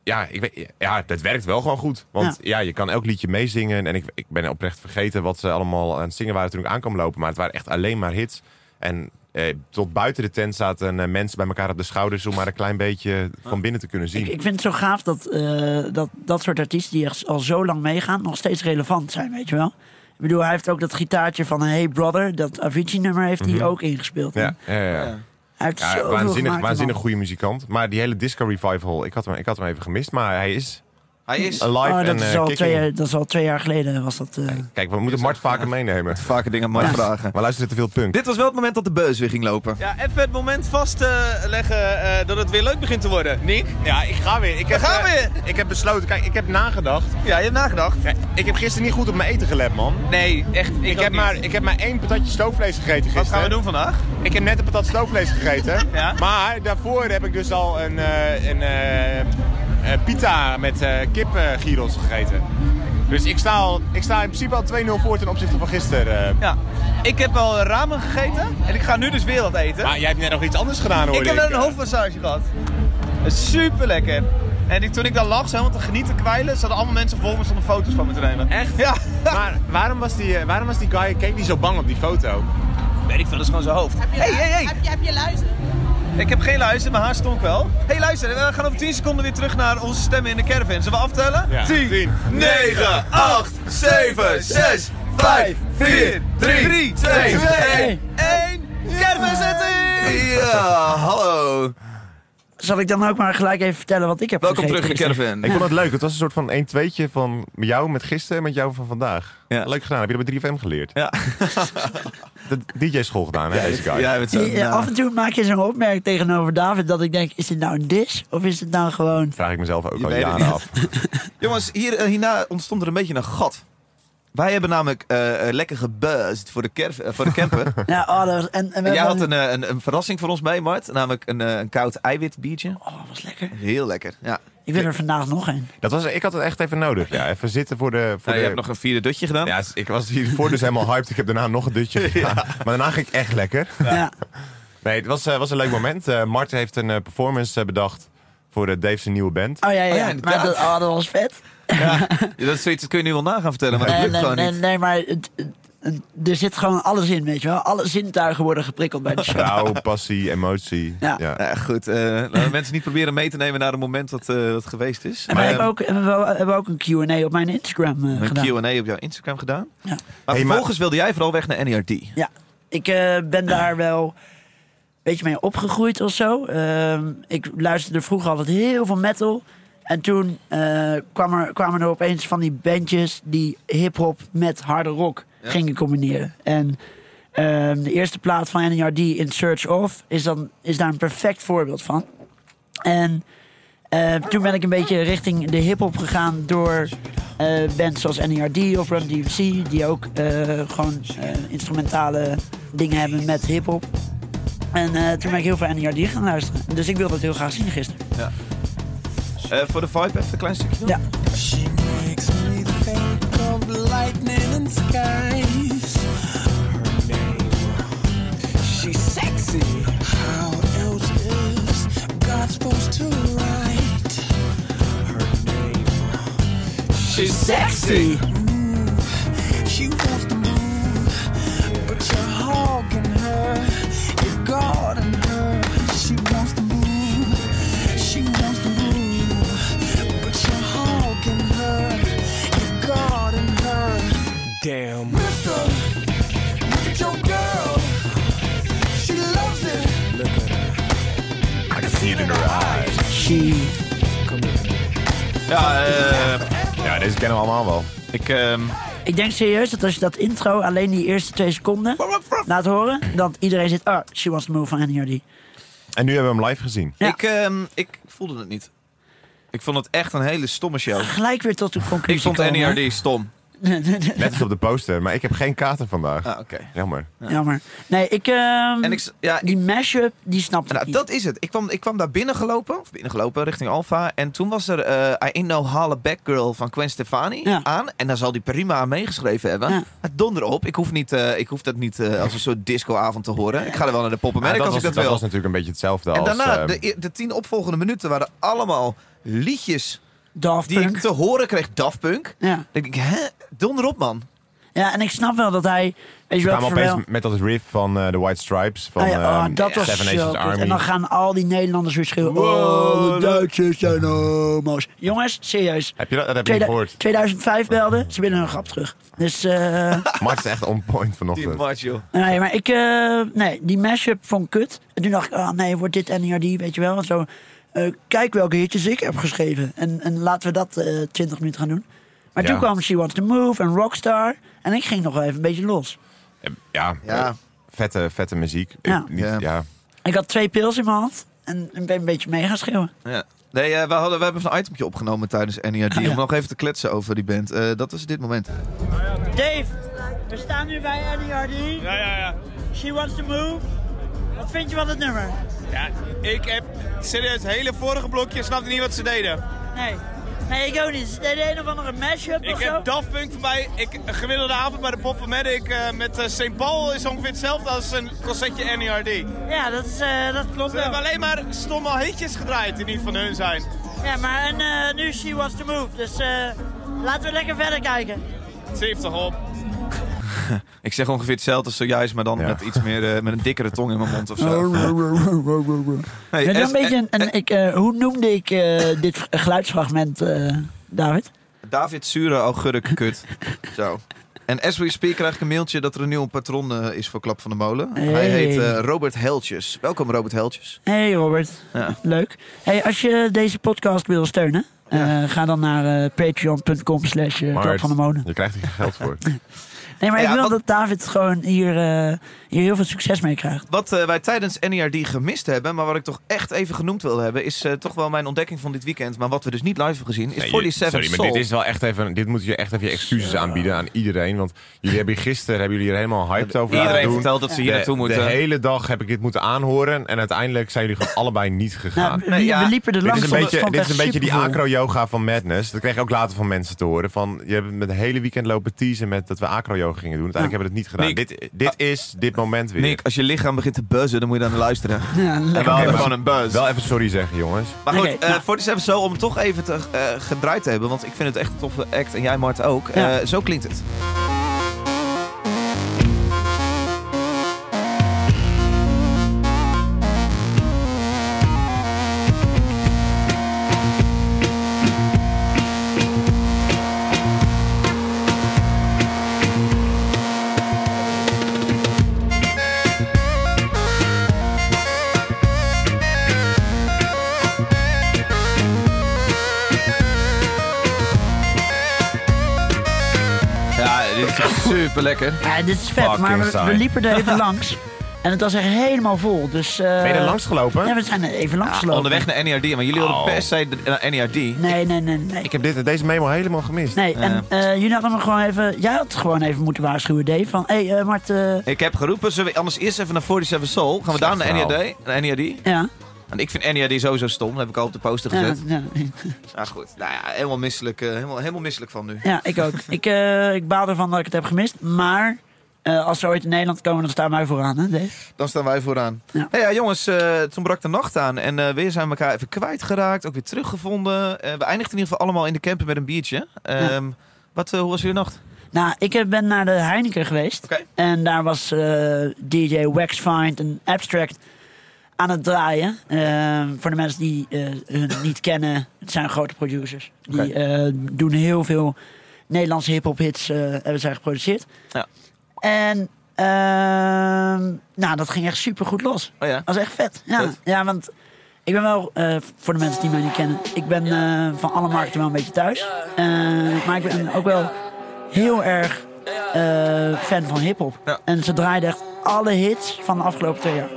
ja, ik weet, ja, dat werkt wel gewoon goed. Want ja, je kan elk liedje meezingen. En ik, ik ben oprecht vergeten wat ze allemaal aan het zingen waren toen ik aankwam lopen. Maar het waren echt alleen maar hits. En eh, tot buiten de tent zaten eh, mensen bij elkaar op de schouders... om maar een klein beetje van binnen te kunnen zien. Ah. Ik, ik vind het zo gaaf dat, eh, dat dat soort artiesten die echt al zo lang meegaan, nog steeds relevant zijn, weet je wel. Ik bedoel, hij heeft ook dat gitaartje van Hey Brother, dat Avicii-nummer, heeft Mhm. hij ook ingespeeld. Ja, ja, ja. ja. Hij heeft Ja, zoveel gemaakt, waanzinnig, die waanzinnig man. goede muzikant. Maar die hele disco revival, ik had hem, ik had hem even gemist. Maar hij is, hij is alive Oh, dat, en is eh, al kicking. twee jaar, dat is al twee jaar geleden, was dat... eh, Kijk, we moeten Mart vaker meenemen. Vaker dingen Mart vragen. Maar luisteren te veel punk. Dit was wel het moment dat de buzz weer ging lopen. Ja, even het moment vastleggen leggen eh, dat het weer leuk begint te worden. Nick? Ja, ik ga weer. Ik We heb, gaan eh, weer. Ik heb besloten. Kijk, ik heb nagedacht. Ja, je hebt nagedacht. ik heb gisteren niet goed op mijn eten gelet, man. Nee, echt. Ik, heb, maar, ik heb maar één patatje stoofvlees gegeten gisteren. gaan we doen vandaag? Ik heb net een patat stoofvlees gegeten. Maar daarvoor heb ik dus al een, eh, een eh, eh, pita met eh kip eh, gyros gegeten. Dus ik sta, al, ik sta in principe al 2-0 voor ten opzichte van gisteren. Ja. Ik heb al ramen gegeten en ik ga nu dus weer wat eten. Maar jij hebt net nog iets anders gedaan, hoor Ik heb ik. net een hoofdmassage gehad. Super lekker. En ik- toen ik daar lag, zo helemaal te genieten, kwijlen, zaten allemaal mensen voor me stonden foto's van me te nemen. Echt? Ja. Maar waarom was die, eh, waarom was die guy, keek die zo bang op die foto? Weet ik veel, dat is gewoon zijn hoofd. Hey, hey, hey. Heb je, heb je luizen? Ik heb geen luister, maar haar stonk wel. Hé, hey, luister, we gaan over 10 seconden weer terug naar onze stemmen in de caravan. Zullen we aftellen? Ja. 10, 10, 9, 8, 7, 6, 5, 4, 3, 2, 1. 1, caravan zitten! Ja, hallo. Zal ik dan ook maar gelijk even vertellen wat ik heb Welkom gegeten terug in de gisteren? caravan. Ik vond het leuk. Het was een soort van 1 tweetje van jou met gisteren en met jou van vandaag. Leuk gedaan. Heb je dat bij 3FM geleerd? Ja. dat DJ-school gedaan, hè, deze guy. Die, nou. eh, Af en toe maak je zo'n opmerking tegenover David dat ik denk, is dit nou een dis of is het nou gewoon... Vraag ik mezelf ook al weet het jaren niet. af. Jongens, hier, eh, hierna ontstond er een beetje een gat. Wij hebben namelijk eh, eh, lekker gebuzzed voor de, kerf, eh, voor de camper. Ja, oh, dat was- en, en we En jij had hebben- een, eh, een, een verrassing voor ons mee, Mart. Namelijk een, eh, een koud eiwitbiertje. Oh, dat was lekker. Heel lekker, ja. Ik wil er vandaag nog een. Dat was, ik had het echt even nodig. Ja, even zitten voor de... Voor Nou, je de... hebt nog een vierde dutje gedaan. Ja, ik was hiervoor dus helemaal hyped. Ik heb daarna nog een dutje gedaan. Maar daarna ging ik echt lekker. Ja. Nee, het was, eh, was een leuk moment. Eh Mart heeft een eh, performance eh, bedacht voor eh, Dave's nieuwe band. Oh ja, ja, maar inderdaad. dat, oh, dat was vet. Ja, dat is zoiets dat kun je nu wel na gaan vertellen, maar dat Nee, lukt nee, gewoon nee, niet. nee, maar het- het- er zit gewoon alles in, weet je wel. Alle zintuigen worden geprikkeld bij de show. Trouw, passie, emotie. Ja. Ja, goed, eh, laten we mensen niet proberen mee te nemen naar het moment dat eh, dat het geweest is. En wij Maar, hebben ook, hebben we hebben ook een Q&A op mijn Instagram eh, eh, gedaan. een Q&A op jouw Instagram gedaan. Ja. Maar Hey, maar- vervolgens wilde jij vooral weg naar E NERD. Ja, ik eh, ben daar wel een beetje mee opgegroeid of zo. Ehm, ik luisterde vroeger altijd heel veel metal. En toen eh, kwam er, kwamen er opeens van die bandjes die hip-hop met harde rock gingen combineren. En ehm, de eerste plaat van NERD, In Search of, is, dan, is daar een perfect voorbeeld van. En eh, toen ben ik een beetje richting de hip-hop gegaan door eh, bands zoals NERD of Run DMC, die ook eh, gewoon eh, instrumentale dingen hebben met hip-hop. En eh, toen ben ik heel veel NERD gaan luisteren. Dus ik wilde dat heel graag zien gisteren. Ja. Eh, voor de vibe even een klein stukje doen? Ja. She makes me think of lightning and skies. Her name, she's sexy. How else is God supposed to write? Her name, she's sexy. Mm, she wants to move, but you're hogging her. You're guarding her. She wants to move. She wants to move, but you're hogging her. You're guarding her. Damn. Mister, look at your girl. She loves it. Look at her. I can see it in her eyes. She. Ja, eh, ja, deze kennen we allemaal wel. Ik, ehm, Ik denk serieus dat als je dat intro, alleen die eerste twee seconden, laat horen, dat iedereen zit, oh, she wants to move van NERD. En nu hebben we hem live gezien. Ik, ehm, ik voelde het niet. Ik vond het echt een hele stomme show. Gelijk weer tot de conclusie Ik vond E komen, hè? NERD stom. Net als op de poster, maar ik heb geen kater vandaag. Ah, oké. Jammer. Jammer. Nee, ik, ehm, En ik, s- ja, die mashup, die snapte nou, Dat is het. Ik kwam, ik kwam daar binnengelopen, of binnengelopen richting Alfa. En toen was er eh, I Ain't No Holla Back Girl van Gwen Stefani aan. En daar zal die prima aan meegeschreven hebben. Maar donder op. Ik hoef, niet, eh, ik hoef dat niet eh, als een soort discoavond te horen. Ik ga er wel naar de Ah, poppenmerk dat als was, ik dat, dat wil. was natuurlijk een beetje hetzelfde en als... daarna, ehm, de, e- de tien opvolgende minuten waren allemaal liedjes... die Punk. ik te horen kreeg. Daft Punk. Ja. denk ik, hè? Donder op, man. Ja, en ik snap wel dat hij, weet Ze je wel, kwamen het opeens verhaal- met dat riff van eh The White Stripes, van Ah ja, ehm, oh, dat was Seven zo Nations kut. Army. En dan gaan al die Nederlanders weer schreeuwen. Oh, de Duitsers zijn homo's. Jongens, serieus. Heb je dat, dat heb je niet Tweeda- gehoord? 2005 belden, ze willen hun grap terug. Dus, eh Mart is echt on point vanochtend. nee, maar ik, eh, nee, die mashup vond ik kut. En toen dacht ik, ah nee, wordt dit NERD, weet je wel. En zo, eh, kijk welke hitjes ik heb geschreven. En, en laten we dat eh 20 minuten gaan doen. Maar Ja. toen kwam She Wants To Move en Rockstar. En ik ging nog wel even een beetje los. Ja, eh, Vette, vette muziek. Ik- Ja. niet- ja. Ik had twee pils in mijn hand en en ben een beetje mee gaan schreeuwen. Ja. Nee, eh, we, hadden, we hebben een itemtje opgenomen tijdens NERD. Ah, Om nog even te kletsen over die band. Eh, dat was dit moment. Dave, we staan nu bij NERD. Ja, ja, ja. She wants to move. Wat vind je van het nummer? Ja, ik heb serieus het hele vorige blokje snapte niet wat ze deden. Nee. Nee, ik ook niet. Ze deden een of andere mashup Ik of zo. heb Daft Punk voorbij. Ik, een gemiddelde avond bij de Poppenmedic eh met eh, St. Paul is ongeveer hetzelfde als een concertje E NERD. Ja, dat, is, eh, dat klopt Ze hebben alleen maar stomme hitjes gedraaid die niet van hun zijn. Ja, maar en, eh, nu she wants to move. Dus eh, laten we lekker verder kijken. 70 op. ik zeg ongeveer hetzelfde als zojuist, maar dan met iets meer, eh, met een dikkere tong in mijn mond of zo. Hey, Ja, dat is es- een beetje een, een- ik, eh, hoe noemde ik eh, dit geluidsfragment, eh, David? David Zure augurk kut. Zo. En as we speak krijg ik een mailtje dat er een nieuw patroon eh, is voor Klap van de Molen. Hij Hey. heet eh, Robert Heltjes. Welkom Robert Heltjes. Hey Robert, leuk. Hey, als je deze podcast wil steunen, eh, ga dan naar eh, patreon.com slash eh, Klap van de Molen. Daar krijgt hij geld voor. Nee, maar ik wil dat David gewoon hier, eh, hier heel veel succes mee krijgt. Wat eh, wij tijdens NERD gemist hebben, maar wat ik toch echt even genoemd wil hebben, is eh, toch wel mijn ontdekking van dit weekend. Maar wat we dus niet live hebben gezien, is Nee, je- 47 sorry, maar Soul. dit is wel echt even. Dit moet je echt even je excuses aanbieden aan iedereen. Want jullie hebben hier gisteren hebben jullie er helemaal hyped over. Iedereen laten doen. vertelt dat ze hier De- naartoe moeten. De hele dag heb ik dit moeten aanhoren. En uiteindelijk zijn jullie gewoon allebei niet gegaan. Nou, we- Nee, ja, we liepen er langs, Dit is want een het beetje, stond dit is echt een beetje die supervol. acro-yoga van Madness. Dat kreeg ik ook later van mensen te horen. Van, je hebt met het hele weekend lopen teasen met dat we acro-yoga gingen doen. Uiteindelijk hebben we het niet gedaan. Dit, dit is dit moment weer. Nick, als je lichaam begint te buzzen, dan moet je daar naar luisteren. Ja, en we hadden gewoon een buzz. Wel even sorry zeggen, jongens. Maar goed, eh, nou. voor de Seven Soul, om het toch even te, eh, gedraaid te hebben, want ik vind het echt een toffe act en jij Mart ook. Eh, zo klinkt het. Ja, dit is super lekker. Ja, dit is vet, maar we, we liepen er even langs. En het was echt helemaal vol. Dus, eh, Ben je er langs gelopen? Ja, we zijn er even langs gelopen. Onderweg naar NERD, maar jullie hadden Oh. per se de- naar E NERD. Nee, nee, nee, nee. Ik heb dit, deze memo helemaal gemist. Nee, en eh, jullie hadden me gewoon even... Jij had gewoon even moeten waarschuwen, Dave. Van, hé, hey, eh, Mart... eh, Ik heb geroepen, zullen we anders eerst even naar 47 Soul? Gaan we daar naar verhaal. NERD? Naar NERD? ja. Want ik vind NERD sowieso stom, dat heb ik al op de poster Ja, gezet. ja, Nou goed, nou ja, helemaal misselijk, eh, helemaal, helemaal misselijk van nu. ja, ik ook. ik, eh, ik baal ervan dat ik het heb gemist. Maar eh, als ze ooit in Nederland komen, dan staan wij vooraan, hè, Dave? Dan staan wij vooraan. Hey, ja, jongens, eh, toen brak de nacht aan en eh, weer zijn we elkaar even kwijtgeraakt, ook weer teruggevonden. Eh, we eindigden in ieder geval allemaal in de camper met een biertje. Ehm, wat, eh, hoe was jullie nacht? Nou, ik eh, ben naar de Heineken geweest. En daar was eh, DJ Waxfind en Abstract aan het draaien. Ehm, voor de mensen die eh, hun niet kennen, het zijn grote producers. Die Oké. eh, doen heel veel Nederlandse hip-hop hits eh, hebben zij geproduceerd. Ja. En ehm, nou, dat ging echt super goed los. Oh ja? Dat was echt vet. Ja, Vet. ja want ik ben wel, eh, voor de mensen die mij niet kennen, ik ben eh, van alle markten wel een beetje thuis. Eh, maar ik ben ook wel heel erg eh, fan van hip-hop. En ze draaiden echt alle hits van de afgelopen twee jaar.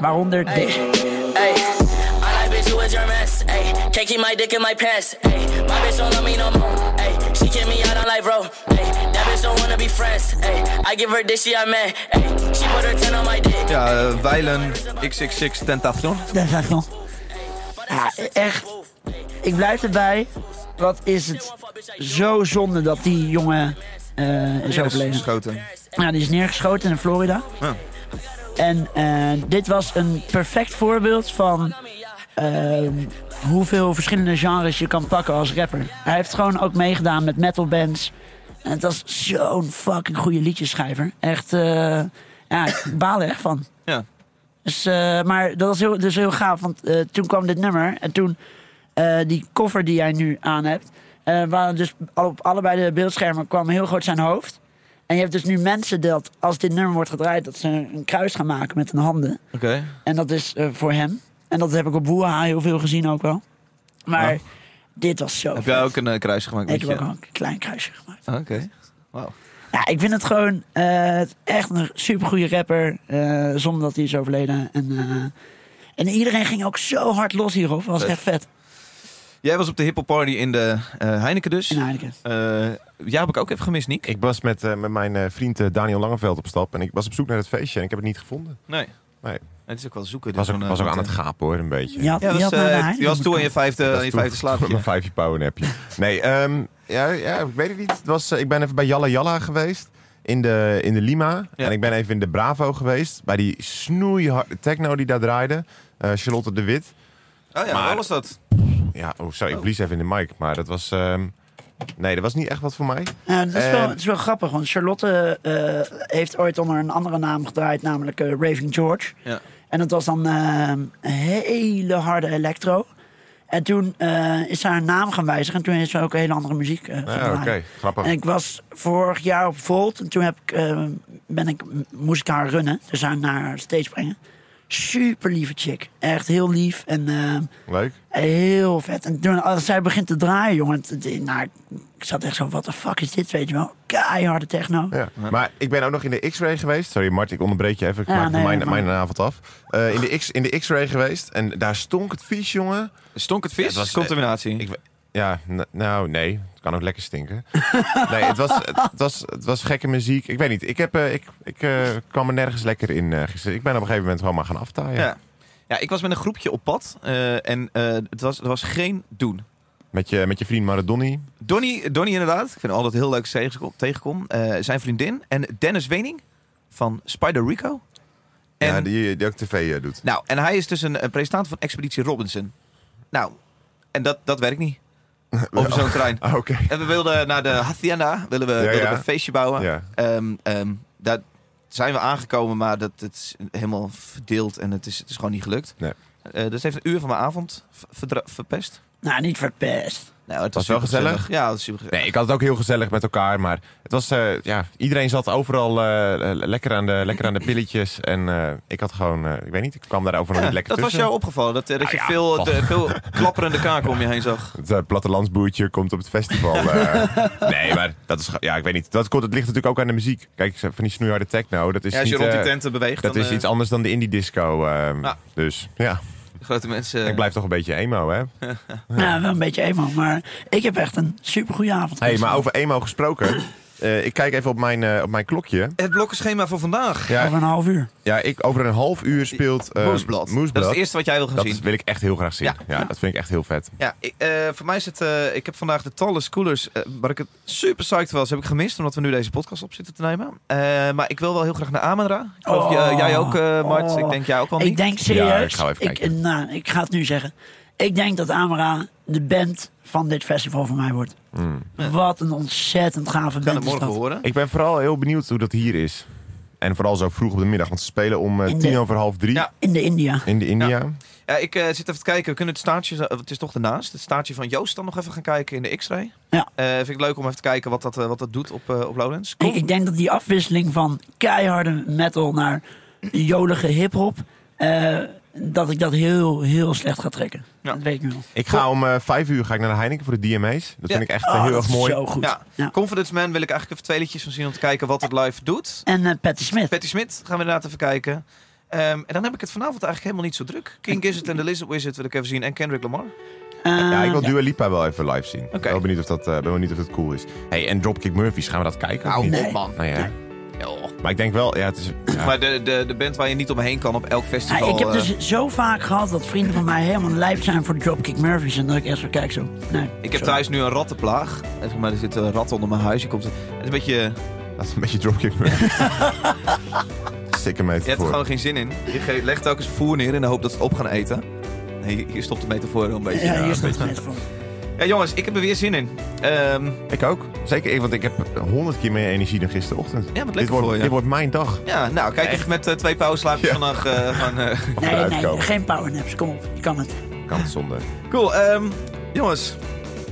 Waaronder deze. Ay, all I bitch do is your mess. Ay, can't keep my dick in my pants. Ay, my bitch don't love me no more. Ay, she kick me out on life, bro. Ay, that bitch don't wanna be friends. Ay, I give her this, she a man. Ay, she put her 10 on my dick. Ja, eh, Weilen XXX Tentacion. Dat is echt wel- Ja, echt. Ik blijf erbij. Wat is het zo zonde dat die jongen eh is overleden. Neergeschoten. Ja, die is neergeschoten in Florida. En eh, dit was een perfect voorbeeld van ehm, hoeveel verschillende genres je kan pakken als rapper. Hij heeft gewoon ook meegedaan met metal bands. En het was zo'n fucking goede liedjeschrijver. Echt, eh, ja, ik baal er echt van. Ja. Dus, eh, maar dat was heel, dus heel gaaf, want eh, toen kwam dit nummer. En toen, eh, die koffer die jij nu aan hebt... eh, waren dus al- op allebei de beeldschermen kwam heel groot zijn hoofd. En je hebt dus nu mensen dat, als dit nummer wordt gedraaid... dat ze een kruis gaan maken met hun handen. Oké. En dat is eh, voor hem. En dat heb ik op Boeha heel veel gezien ook wel. Maar Ja. dit was zo Heb vet. jij ook een eh, kruis gemaakt? Ik met heb je? ook wel een klein kruisje gemaakt. Oké. Wauw. Ja, ik vind het gewoon eh, echt een supergoeie rapper. eh, zonder dat hij is overleden. En, eh, en iedereen ging ook zo hard los hierop. was Vet. echt vet. Jij was op de hippo party in de eh, Heineken dus. In Heineken. ja, heb ik ook even gemist, Niek. Ik was met, eh, met mijn eh, vriend eh, Daniel Langeveld op stap. En ik was op zoek naar het feestje en ik heb het niet gevonden. Nee. Nee. Het is ook wel zoeken. Ik was dus ook, zo'n, was eh, ook aan het route. gapen hoor, een beetje. Je had- Ja, je was, had naar de eh, Heineken je was toe moeten aan je komen. vijfde- Ik was aan je toe- vijfde slaapje. Mijn vijfje powernapje. Nee, ehm, ja, ja, ik weet het niet. Het was, eh, ik ben even bij Jalla Jalla geweest. In de, in de Lima. En ik ben even in de Bravo geweest. Bij die snoeiharde techno die daar draaide. Eh, Charlotte de Wit. Oh ja, Maar- waar was dat? Ja, oh, sorry, ik blies even in de mic. Maar dat was... ehm, Nee, dat was niet echt wat voor mij. Ja, dat is eh, wel, En- het is wel grappig, want Charlotte eh, heeft ooit onder een andere naam gedraaid, namelijk eh, Raving George. Ja. En dat was dan eh, een hele harde electro. En toen eh, is ze haar naam gaan wijzigen en toen heeft ze ook hele andere muziek eh gaan draaien. oké, grappig. En ik was vorig jaar op Volt en toen heb ik, eh, ben ik, m- moest ik haar runnen, dus haar naar haar stage brengen. Super lieve chick. Echt heel lief en eh, Leuk. heel vet. En toen, als zij begint te draaien, jongen, het- het- nou, ik- ik zat echt zo, wat the fuck is dit, weet je wel? Keiharde techno. Ja. Maar ik ben ook nog in de X-ray geweest. Sorry, Mart, ik onderbreek je even. Ik Ja, maak nee, mijn, maar- mijn avond af. Eh, in, de X, in de X-ray geweest. En daar stonk het vies, jongen. Stonk het eh, vies? Contaminatie? ja, n- nou nee. Het kan ook lekker stinken. nee, het was, het, was, het was gekke muziek. Ik weet niet. Ik, heb, eh, ik, ik eh, kwam er nergens lekker in eh, gisteren. Ik ben op een gegeven moment gewoon maar gaan aftaaien. Ja. Ja, ik was met een groepje op pad eh, en eh, het was, er was geen doen. Met, je, met je vriend Maradoni. Donnie, Donnie inderdaad, ik vind altijd heel leuk als ik tegenkom, tegenkom. eh, zijn vriendin en Dennis Wening van Spider Rico. ja, die, die ook tv eh, doet. Nou, en hij is dus een, een presentator van Expeditie Robinson. Nou, en dat, dat werkt niet. Over zo'n trein. Ah, Oké. En we wilden naar de Hacienda, willen we, Ja, willen ja. we een feestje bouwen. Ja. Ehm, ehm, daar zijn we aangekomen, maar dat, het is helemaal verdeeld en het is, het is gewoon niet gelukt. Nee. Eh, dus heeft een uur van mijn avond v- verdra- verpest. Nou, niet verpest. Nou, het Was wel supergezellig. gezellig? Ja, het was super Nee, ik had het ook heel gezellig met elkaar, maar het was, eh, ja, iedereen zat overal eh, eh, lekker, aan de, lekker aan de pilletjes. En eh, ik had gewoon, eh, ik weet niet, ik kwam daarover nog niet lekker dat was tussen. jou opgevallen, dat, eh, dat je Nou ja, veel, val. de- veel klapperende kaken om je heen zag. Het eh, plattelandsboertje komt op het festival. eh. nee, maar dat is, ge- ja, ik weet niet. Dat, komt, het ligt natuurlijk ook aan de muziek. Kijk, van die snoeiharde techno, dat is Ja, als je niet, rond die eh, tenten beweegt, Dat dan, is eh, iets anders dan de indie disco. eh, Dus, ja. Grote mensen... Ik blijf toch een beetje emo, hè? Ja, Nou, wel een beetje emo, maar ik heb echt een supergoeie avond. hey, maar over emo gesproken. eh, ik kijk even op mijn, eh, op mijn klokje. Het blokkenschema voor vandaag. Ja. Over een half uur. Ja, ik, over een half uur speelt eh, Moesblad. Dat is het eerste wat jij wil gaan dat zien. is- wil ik echt heel graag zien. Ja. Ja. dat vind ik echt heel vet. Ja, ik, eh, voor mij zit... eh ik heb vandaag de Tallest Coolers, eh, waar ik het super psyched was, heb ik gemist. Omdat we nu deze podcast op zitten te nemen. Eh, maar ik wil wel heel graag naar Amenra. Ik geloof je- jij ook, eh, Mart. Oh. Ik denk jij ook wel Ik niet. denk serieus. ik, nou, ik ga het nu zeggen. Ik denk dat Amara de band van dit festival voor mij wordt. Hmm. Wat een ontzettend gave band is dat. Ik ben vooral heel benieuwd hoe dat hier is. En vooral zo vroeg op de middag, want ze spelen om eh, In de- tien over half drie. In de India. In de India. Ja, ik eh, zit even te kijken. We kunnen het staartje... eh, Het is toch ernaast. Het staartje van Joost dan nog even gaan kijken in de X-ray. Ja. Eh, vind ik leuk om even te kijken wat dat, eh, wat dat doet op, eh op Lowlands. Ik, ik denk dat die afwisseling van keiharde metal naar jolige hip-hop. eh, dat ik dat heel, heel slecht ga trekken. Dat weet ik nu al. Ik ga om eh, vijf uur ga ik naar de Heineken voor de DMA's. Dat vind ik Oh, echt eh, Ah, heel erg mooi. Ja. Confidence Man wil ik eigenlijk even twee liedjes van zien om te kijken wat het live doet. En eh, Patti Smith. Patty Smit gaan we inderdaad even kijken. Ehm, en dan heb ik het vanavond eigenlijk helemaal niet zo druk. King Gizzard en The Lizard Wizard wil ik even zien. En Kendrick Lamar. Ja, ik wil ja. Dua Lipa wel even live zien. Ik ben wel benieuwd of dat, eh, ben benieuwd of dat cool is. Hey, en Dropkick Murphys, gaan we dat kijken? Nou, of niet? nee. man. Oh. Nou, ja. Maar ik denk wel, ja, het is... ja. Maar de, de, de band waar je niet omheen kan op elk Ja, festival. ik heb eh, dus zo vaak gehad dat vrienden van mij helemaal lijp zijn voor Dropkick Murphys. En dat ik echt zo kijk zo. Nee. ik heb thuis nu een rattenplaag. En zeg maar, er zit een rat onder mijn huis. Je komt, het is een beetje... Dat is een beetje Dropkick Murphys. Stikke mee Je hebt er gewoon geen zin in. Je ge- legt telkens voer neer in de hoop dat ze het op gaan eten. Nee, hier- hier stopt de metafoor wel een beetje. Ja, hier een stopt de beetje. metafoor. Ja, jongens, ik heb er weer zin in. Ehm, Ik ook. Zeker, ik- want ik heb honderd keer meer energie dan gisterochtend. Ja, wat dit lekker wordt, voor je. Dit wordt mijn dag. ja, nou, kijk of met eh, twee pauwslaapjes vandaag eh, gaan... eh, Nee, nee, uitkomen. geen powernaps. Kom op, je kan het. Kan het zonder. Cool, ehm, jongens,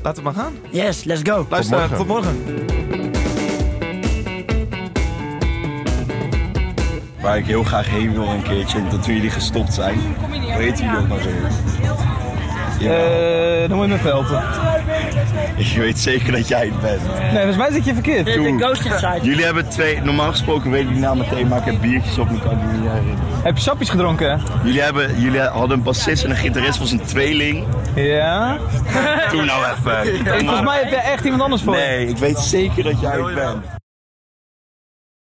laten we maar gaan. Yes, let's go. Luister, morgen. Tot morgen. Waar ik heel graag heen wil een keertje, en dat toen jullie gestopt zijn. Hoe heet jullie ook maar weer? Eh, noem het mijn velden. Ik weet zeker dat jij het bent. Nee, volgens mij zit je verkeerd. Toen. Jullie hebben twee, normaal gesproken weet ik die naam meteen, maar ik heb biertjes op me, kan ik me niet herinneren. Heb je sapjes gedronken? Jullie, hebben, jullie hadden een bassist en een gitarist was een tweeling. Ja. Toen nou even. Volgens mij heb jij echt iemand anders voor. Nee, ik weet zeker dat jij het bent.